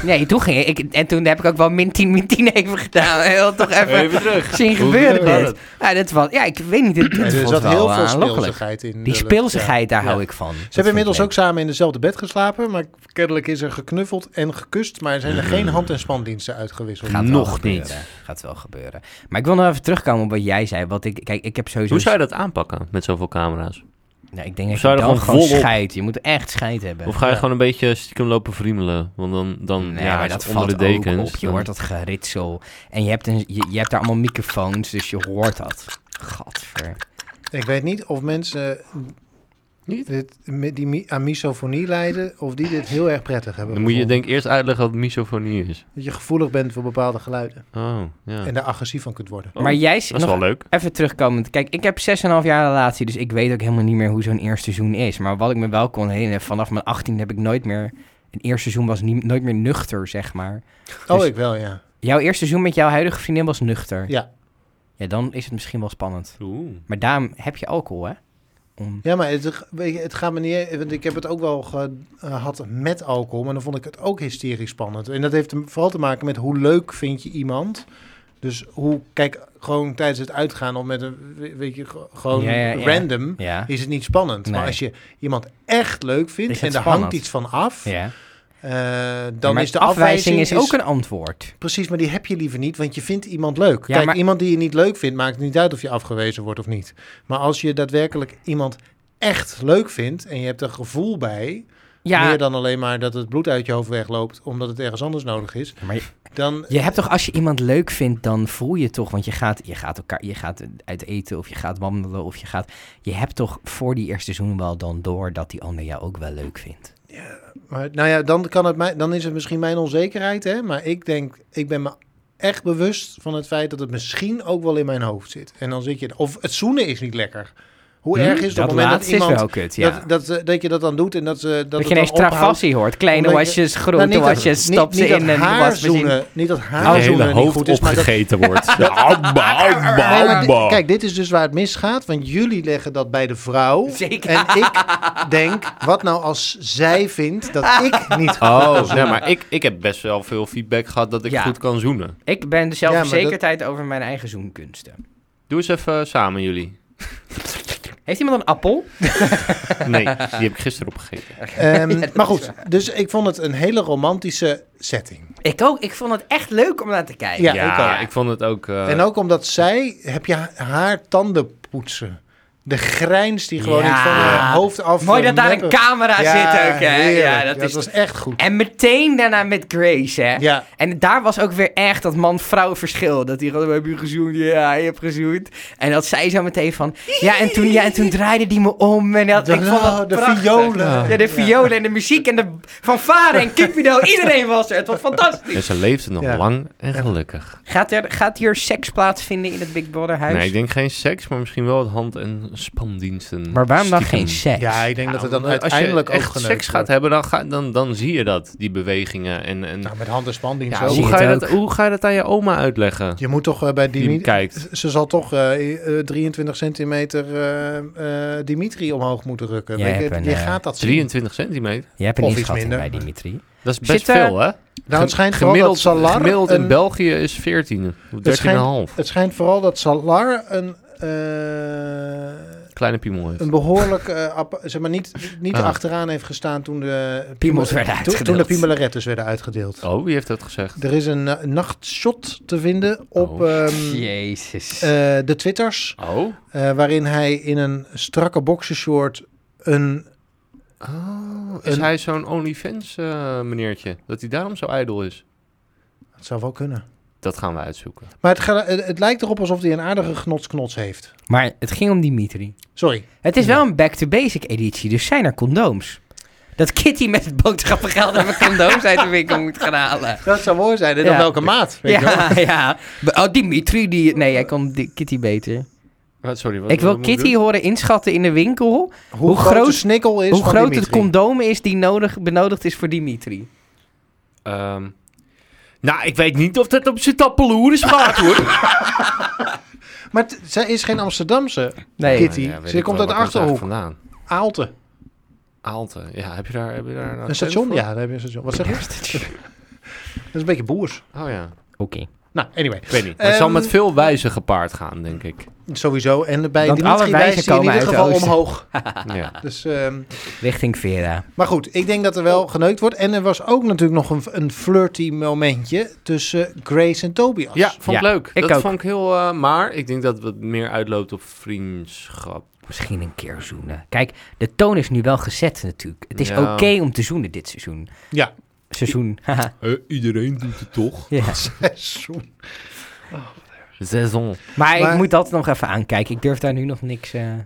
A: Nee, toen ging ik... En toen heb ik ook wel min 10, min 10 even gedaan. Heel toch even...
C: terug.
A: zien
C: Hoe
A: gebeuren
C: gebeurde
A: dit. Ja, dat was, ja, ik weet niet, dit, dit
B: er
A: vond
B: zat
A: wel
B: heel veel
A: aanlokkelijk.
B: speelsigheid in.
A: Die
B: de lucht,
A: speelsigheid, daar
B: ja.
A: hou
B: Ja.
A: ik van.
B: Ze hebben inmiddels ook samen in dezelfde bed geslapen, maar kennelijk is er geknuffeld en gekust, maar er zijn er geen hand- en spandiensten uitgewisseld.
A: Gaat
C: Nog
A: wel gebeuren.
C: niet.
A: Gaat wel gebeuren. Maar ik wil nog even terugkomen op wat jij zei. Want ik, kijk, ik heb sowieso...
C: Hoe zou je dat aanpakken met zoveel camera's?
A: nou, ik denk dat je
C: zou je er
A: dan
C: gewoon
A: gewoon
C: volop-
A: scheid. Je moet echt scheid hebben.
C: Of ga je
B: Ja.
C: gewoon een beetje stiekem lopen vriemelen? Want dan, dan
A: Nee,
C: ja,
A: maar
C: als
A: dat
C: het onder
A: valt
C: de dekens.
A: ook op. Je
C: dan-
A: hoort dat geritsel. En je hebt, een, je, je hebt daar allemaal microfoons, dus je hoort dat. Gadver.
B: Ik weet niet of mensen
C: Niet?
B: dit, met die mi- aan misofonie lijden, of die dit heel erg prettig hebben.
C: Dan moet je
B: gevonden.
C: denk ik eerst uitleggen wat misofonie is.
B: Dat je gevoelig bent voor bepaalde geluiden
C: Oh, ja.
B: en daar agressief van kunt worden.
C: Oh,
A: maar jij...
C: dat is wel leuk.
A: Even terugkomend. Kijk, ik heb 6,5 jaar relatie, dus ik weet ook helemaal niet meer hoe zo'n eerste seizoen is. Maar wat ik me wel kon herinneren, vanaf mijn 18 heb ik nooit meer... Een eerste seizoen was nie- nooit meer nuchter, zeg maar.
B: Oh,
A: Dus-
B: ik wel, ja.
A: Jouw eerste seizoen met jouw huidige vriendin was nuchter.
B: Ja.
A: Ja, dan is het misschien wel spannend. Maar daarom heb je alcohol, hè? Om...
B: Ja, maar het, weet je, het gaat me niet... e- Want ik heb het ook wel eh, gehad met alcohol, maar dan vond ik het ook hysterisch spannend. En dat heeft te- vooral te maken met hoe leuk vind je iemand. Dus hoe, kijk, gewoon tijdens het uitgaan of met een, weet je, ge- gewoon
A: Ja, ja, ja.
B: random,
A: Ja.
B: is het niet spannend. Maar
A: Nee.
B: als je iemand echt leuk vindt
A: Is
B: en
A: het
B: daar
A: spannend.
B: hangt iets van af,
A: Ja.
B: eh, dan
A: maar
B: is de afwijzing...
A: is ook een antwoord.
B: Precies, maar die heb je liever niet, want je vindt iemand leuk.
A: Ja,
B: Kijk,
A: maar-
B: iemand die je niet leuk vindt, maakt niet uit of je afgewezen wordt of niet. Maar als je daadwerkelijk iemand echt leuk vindt en je hebt er gevoel bij,
A: Ja,
B: meer dan alleen maar dat het bloed uit je hoofd wegloopt omdat het ergens anders nodig is,
A: maar je,
B: dan
A: je hebt toch, als je iemand leuk vindt, dan voel je toch, want je gaat, je gaat elkaar, je gaat uit eten of je gaat wandelen of je gaat, je hebt toch voor die eerste seizoen wel dan door dat die ander jou ook wel leuk vindt.
B: Maar, nou ja, dan, kan het mij, dan is het misschien mijn onzekerheid, hè? maar ik denk, ik ben me echt bewust van het feit dat het misschien ook wel in mijn hoofd zit. En dan zit je, of het zoenen is niet lekker. Hoe erg is het op
A: Hm? dat
B: het moment dat
A: laatste
B: iemand
A: is wel kut, ja.
B: dat, dat, ze- dat je dat dan doet en dat ze dat,
A: dat
B: het
A: je ineens
B: dan ophoudt.
A: travassie hoort. Kleine
B: Omdat je-
A: wasjes,
B: Nou,
A: grote
B: dat-
A: wasjes, stap ze
B: niet
A: in
B: dat
A: en
B: haar
A: wasmachine.
B: zoenen, niet dat
C: Het
B: haar
C: hele
B: zoenen niet
C: hoofd
B: goed is, maar dat...
C: opgegeten wordt. Abba,
B: Nee, maar
C: abba,
B: di-
C: abba.
B: kijk, dit is dus waar het misgaat, want jullie leggen dat bij de vrouw.
A: Zeker.
B: En ik denk, wat nou als zij vindt dat ik niet goed kan
C: Oh, nee,
B: zoenen?
C: maar ik, ik heb best wel veel feedback gehad dat ik
A: Ja.
C: goed kan zoenen.
A: Ik ben de
B: maar dat-
A: zelfverzekerdheid over mijn eigen zoenkunsten.
C: Doe eens even eh, samen, jullie.
A: Heeft iemand een appel?
C: Nee, die heb ik gisteren opgegeten.
B: Ehm, maar goed, dus ik vond het een hele romantische setting.
A: Ik ook. Ik vond het echt leuk om naar te kijken.
B: Ja,
C: Ja,
B: ik
C: ik,
B: ook.
C: vond het ook... eh,
B: en ook omdat zij, heb je ha- haar tanden poetsen. De grijns die gewoon
A: Ja.
B: niet van haar hoofd af...
A: Mooi dat daar een
B: meppen.
A: camera zit ook, hè?
B: heerlijk.
A: Ja, dat is...
B: was echt goed.
A: En meteen daarna met Grace, hè?
B: Ja,
A: En daar was ook weer echt dat man-vrouw verschil. Dat die gewoon, heb je gezoend? Ja, je hebt gezoend. En dat zij zo meteen van... Ja, en toen, ja, en toen draaide die me om. En dat,
B: de,
A: ik vond dat
B: de
A: prachtig.
B: violen.
A: Ja, de violen en de muziek en de fanfare en Cupido. Iedereen was er. Het was fantastisch.
C: En ze leefde nog
B: Ja.
C: lang en gelukkig.
A: Gaat, er, gaat hier seks plaatsvinden in het Big Brother huis?
C: Nee, ik denk geen seks, maar misschien wel het hand- en spandiensten.
A: Maar waarom dan
C: Stiekem.
A: geen seks?
B: Ja, ik denk dat het dan
C: omdat
B: uiteindelijk
C: Nou, als je
B: ook
C: echt
B: geneukt
C: seks gaat
B: wordt.
C: hebben, dan, ga, dan, dan zie je dat, die bewegingen. En, en,
B: Nou, met hand en spandienst
C: ja,
B: ook.
A: zie
C: hoe,
A: je
C: ga je
A: het
C: dat, hoe ga je dat aan je oma uitleggen?
B: Je moet toch eh, bij
C: Die hem
B: Dimitri...
C: kijkt.
B: Ze zal toch eh, eh, 23 centimeter eh, eh, Dimitri omhoog moeten rukken.
A: Jij
B: Weet je,
A: hebt een,
B: je
A: eh,
B: gaat dat zien.
C: 23 centimeter?
A: Jij hebt een
B: Of iets
A: inschatting
B: minder.
A: bij Dimitri.
C: Dat is best
A: Zit er-
C: veel, hè?
B: Nou, het schijnt vooral dat
C: gemiddeld,
B: Salar...
C: gemiddeld in
B: een-
C: België is 14 of 13,5.
B: Het schijnt vooral dat Salar een eh,
C: kleine piemel heeft.
B: Een behoorlijk, eh, app- zeg maar, niet, niet
C: Ah.
B: achteraan heeft gestaan toen de
A: Piemels werden
B: toen- Toen de
A: uitgedeeld.
B: piemelarettes werden uitgedeeld.
C: Oh, wie heeft dat gezegd?
B: Er is een eh, nachtshot te vinden op
C: Oh.
B: ehm,
A: Jezus.
B: eh, de Twitters,
C: Oh.
B: eh, waarin hij in een strakke boxershort een
C: oh is
B: Een-
C: hij zo'n OnlyFans eh, meneertje? Dat hij daarom zo ijdel is?
B: Het zou wel kunnen.
C: Dat gaan we uitzoeken.
B: Maar het, ga- het, het lijkt erop alsof hij een aardige gnotsknots heeft.
A: maar het ging om Dimitri.
B: Sorry.
A: Het is wel een back-to-basic editie, dus zijn er condooms. Dat Kitty met het boodschappengeld even condooms uit de winkel moet gaan halen.
B: Dat zou mooi zijn. En
A: Ja.
B: op welke maat? Weet je wel?
A: Ja, ja. Be- Oh, Dimitri, die... Nee, hij kon die- Kitty beter.
C: Wat- Sorry, wat,
A: Ik wil
C: wat moet ik
A: Kitty horen inschatten in de winkel...
B: Hoe,
A: Hoe
B: groot, de
A: groot-
B: snikkel is
A: hoe
B: van
A: groot het
B: Dimitri.
A: condoom is die nodig, benodigd is voor Dimitri.
C: doen? Ehm, nou, ik weet niet of dat op zijn tappeloer is gemaakt, hoor.
B: Maar t- zij is geen Amsterdamse.
A: Nee.
B: Kitty.
C: Nou Ja, weet
B: Ze
C: ik
B: komt
C: wel,
B: uit
C: waar
B: de
C: ze eigenlijk
B: Achterhoek.
C: vandaan.
B: Aalte.
C: Aalte. Ja, heb je daar... Heb je daar
B: Een station? Ja, daar heb je een station. Wat zeg je? Dat is een beetje boers.
C: Oh ja.
A: Oké.
B: Nou, anyway.
C: Ik weet niet. Maar het zal
B: Ehm,
C: met veel wijzen gepaard gaan, denk ik.
B: Sowieso. En bij
A: Want
B: Dimitri
A: alle
B: wijst
A: wijzen
B: hij in
A: komen
B: ieder
A: uit de
B: geval
A: oosten.
B: omhoog.
C: ja.
B: Dus, ehm,
A: Richting Vera.
B: maar goed, ik denk dat er wel geneukt wordt. En er was ook natuurlijk nog een, een flirty momentje tussen Grace en Tobias.
C: Ja, vond ik
A: Ja,
C: leuk.
A: ik
C: dat
A: ook.
C: vond ik heel... eh, maar ik denk dat het meer uitloopt op vriendschap.
A: Misschien een keer zoenen. Kijk, de toon is nu wel gezet natuurlijk. Het is
C: Ja.
A: oké om te zoenen dit seizoen.
B: Ja.
A: Seizoen. haha.
C: iedereen doet het toch?
A: ja.
B: Zoen.
C: Saison.
A: Maar,
B: Maar-
A: ik moet dat nog even aankijken. Ik durf daar nu nog niks... eh,
B: En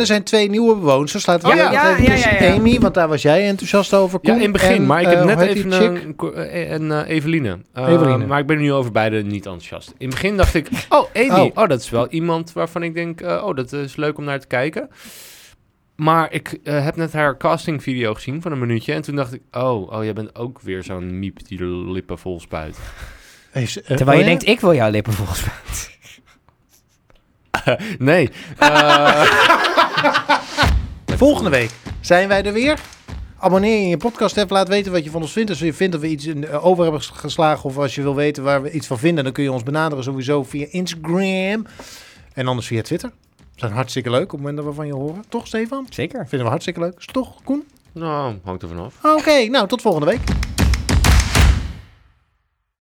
B: er zijn twee nieuwe bewoners. Zo slaat
A: Ja,
B: ja,
A: ja, ja, ja, ja.
B: Amy, want daar was jij enthousiast over.
C: Oh Ja,
B: Koen.
C: in het begin.
B: En,
C: maar ik
B: eh,
C: heb
B: hoe
C: net
B: heet die
C: even
B: chick?
C: een, ko- eh, een eh, Eveline. Eh,
B: Eveline.
C: Maar ik ben er nu over beide niet enthousiast. In het begin dacht ik, oh, Amy. Oh,
B: Oh.
C: dat is wel iemand waarvan ik denk, eh, oh, dat is leuk om naar te kijken. Maar ik eh, heb net haar castingvideo gezien van een minuutje. En toen dacht ik, oh, oh jij bent ook weer zo'n miep die de lippen vol spuit.
B: Heeft ze- eh,
A: Terwijl je
B: oh ja?
A: denkt, ik wil jouw lippen volgens mij.
C: Nee. eh,
B: Volgende week zijn wij er weer. Abonneer je in je podcast app. Laat weten wat je van ons vindt. Als je vindt dat we iets in- eh, over hebben ges- geslagen. Of als je wil weten waar we iets van vinden. Dan kun je ons benaderen sowieso via Instagram. En anders via Twitter. We zijn hartstikke leuk op het moment dat we van je horen. Toch Stefan?
A: Zeker.
B: Vinden we hartstikke leuk. Is het Toch Koen?
C: nou, hangt er vanaf.
B: Oké, nou tot volgende week.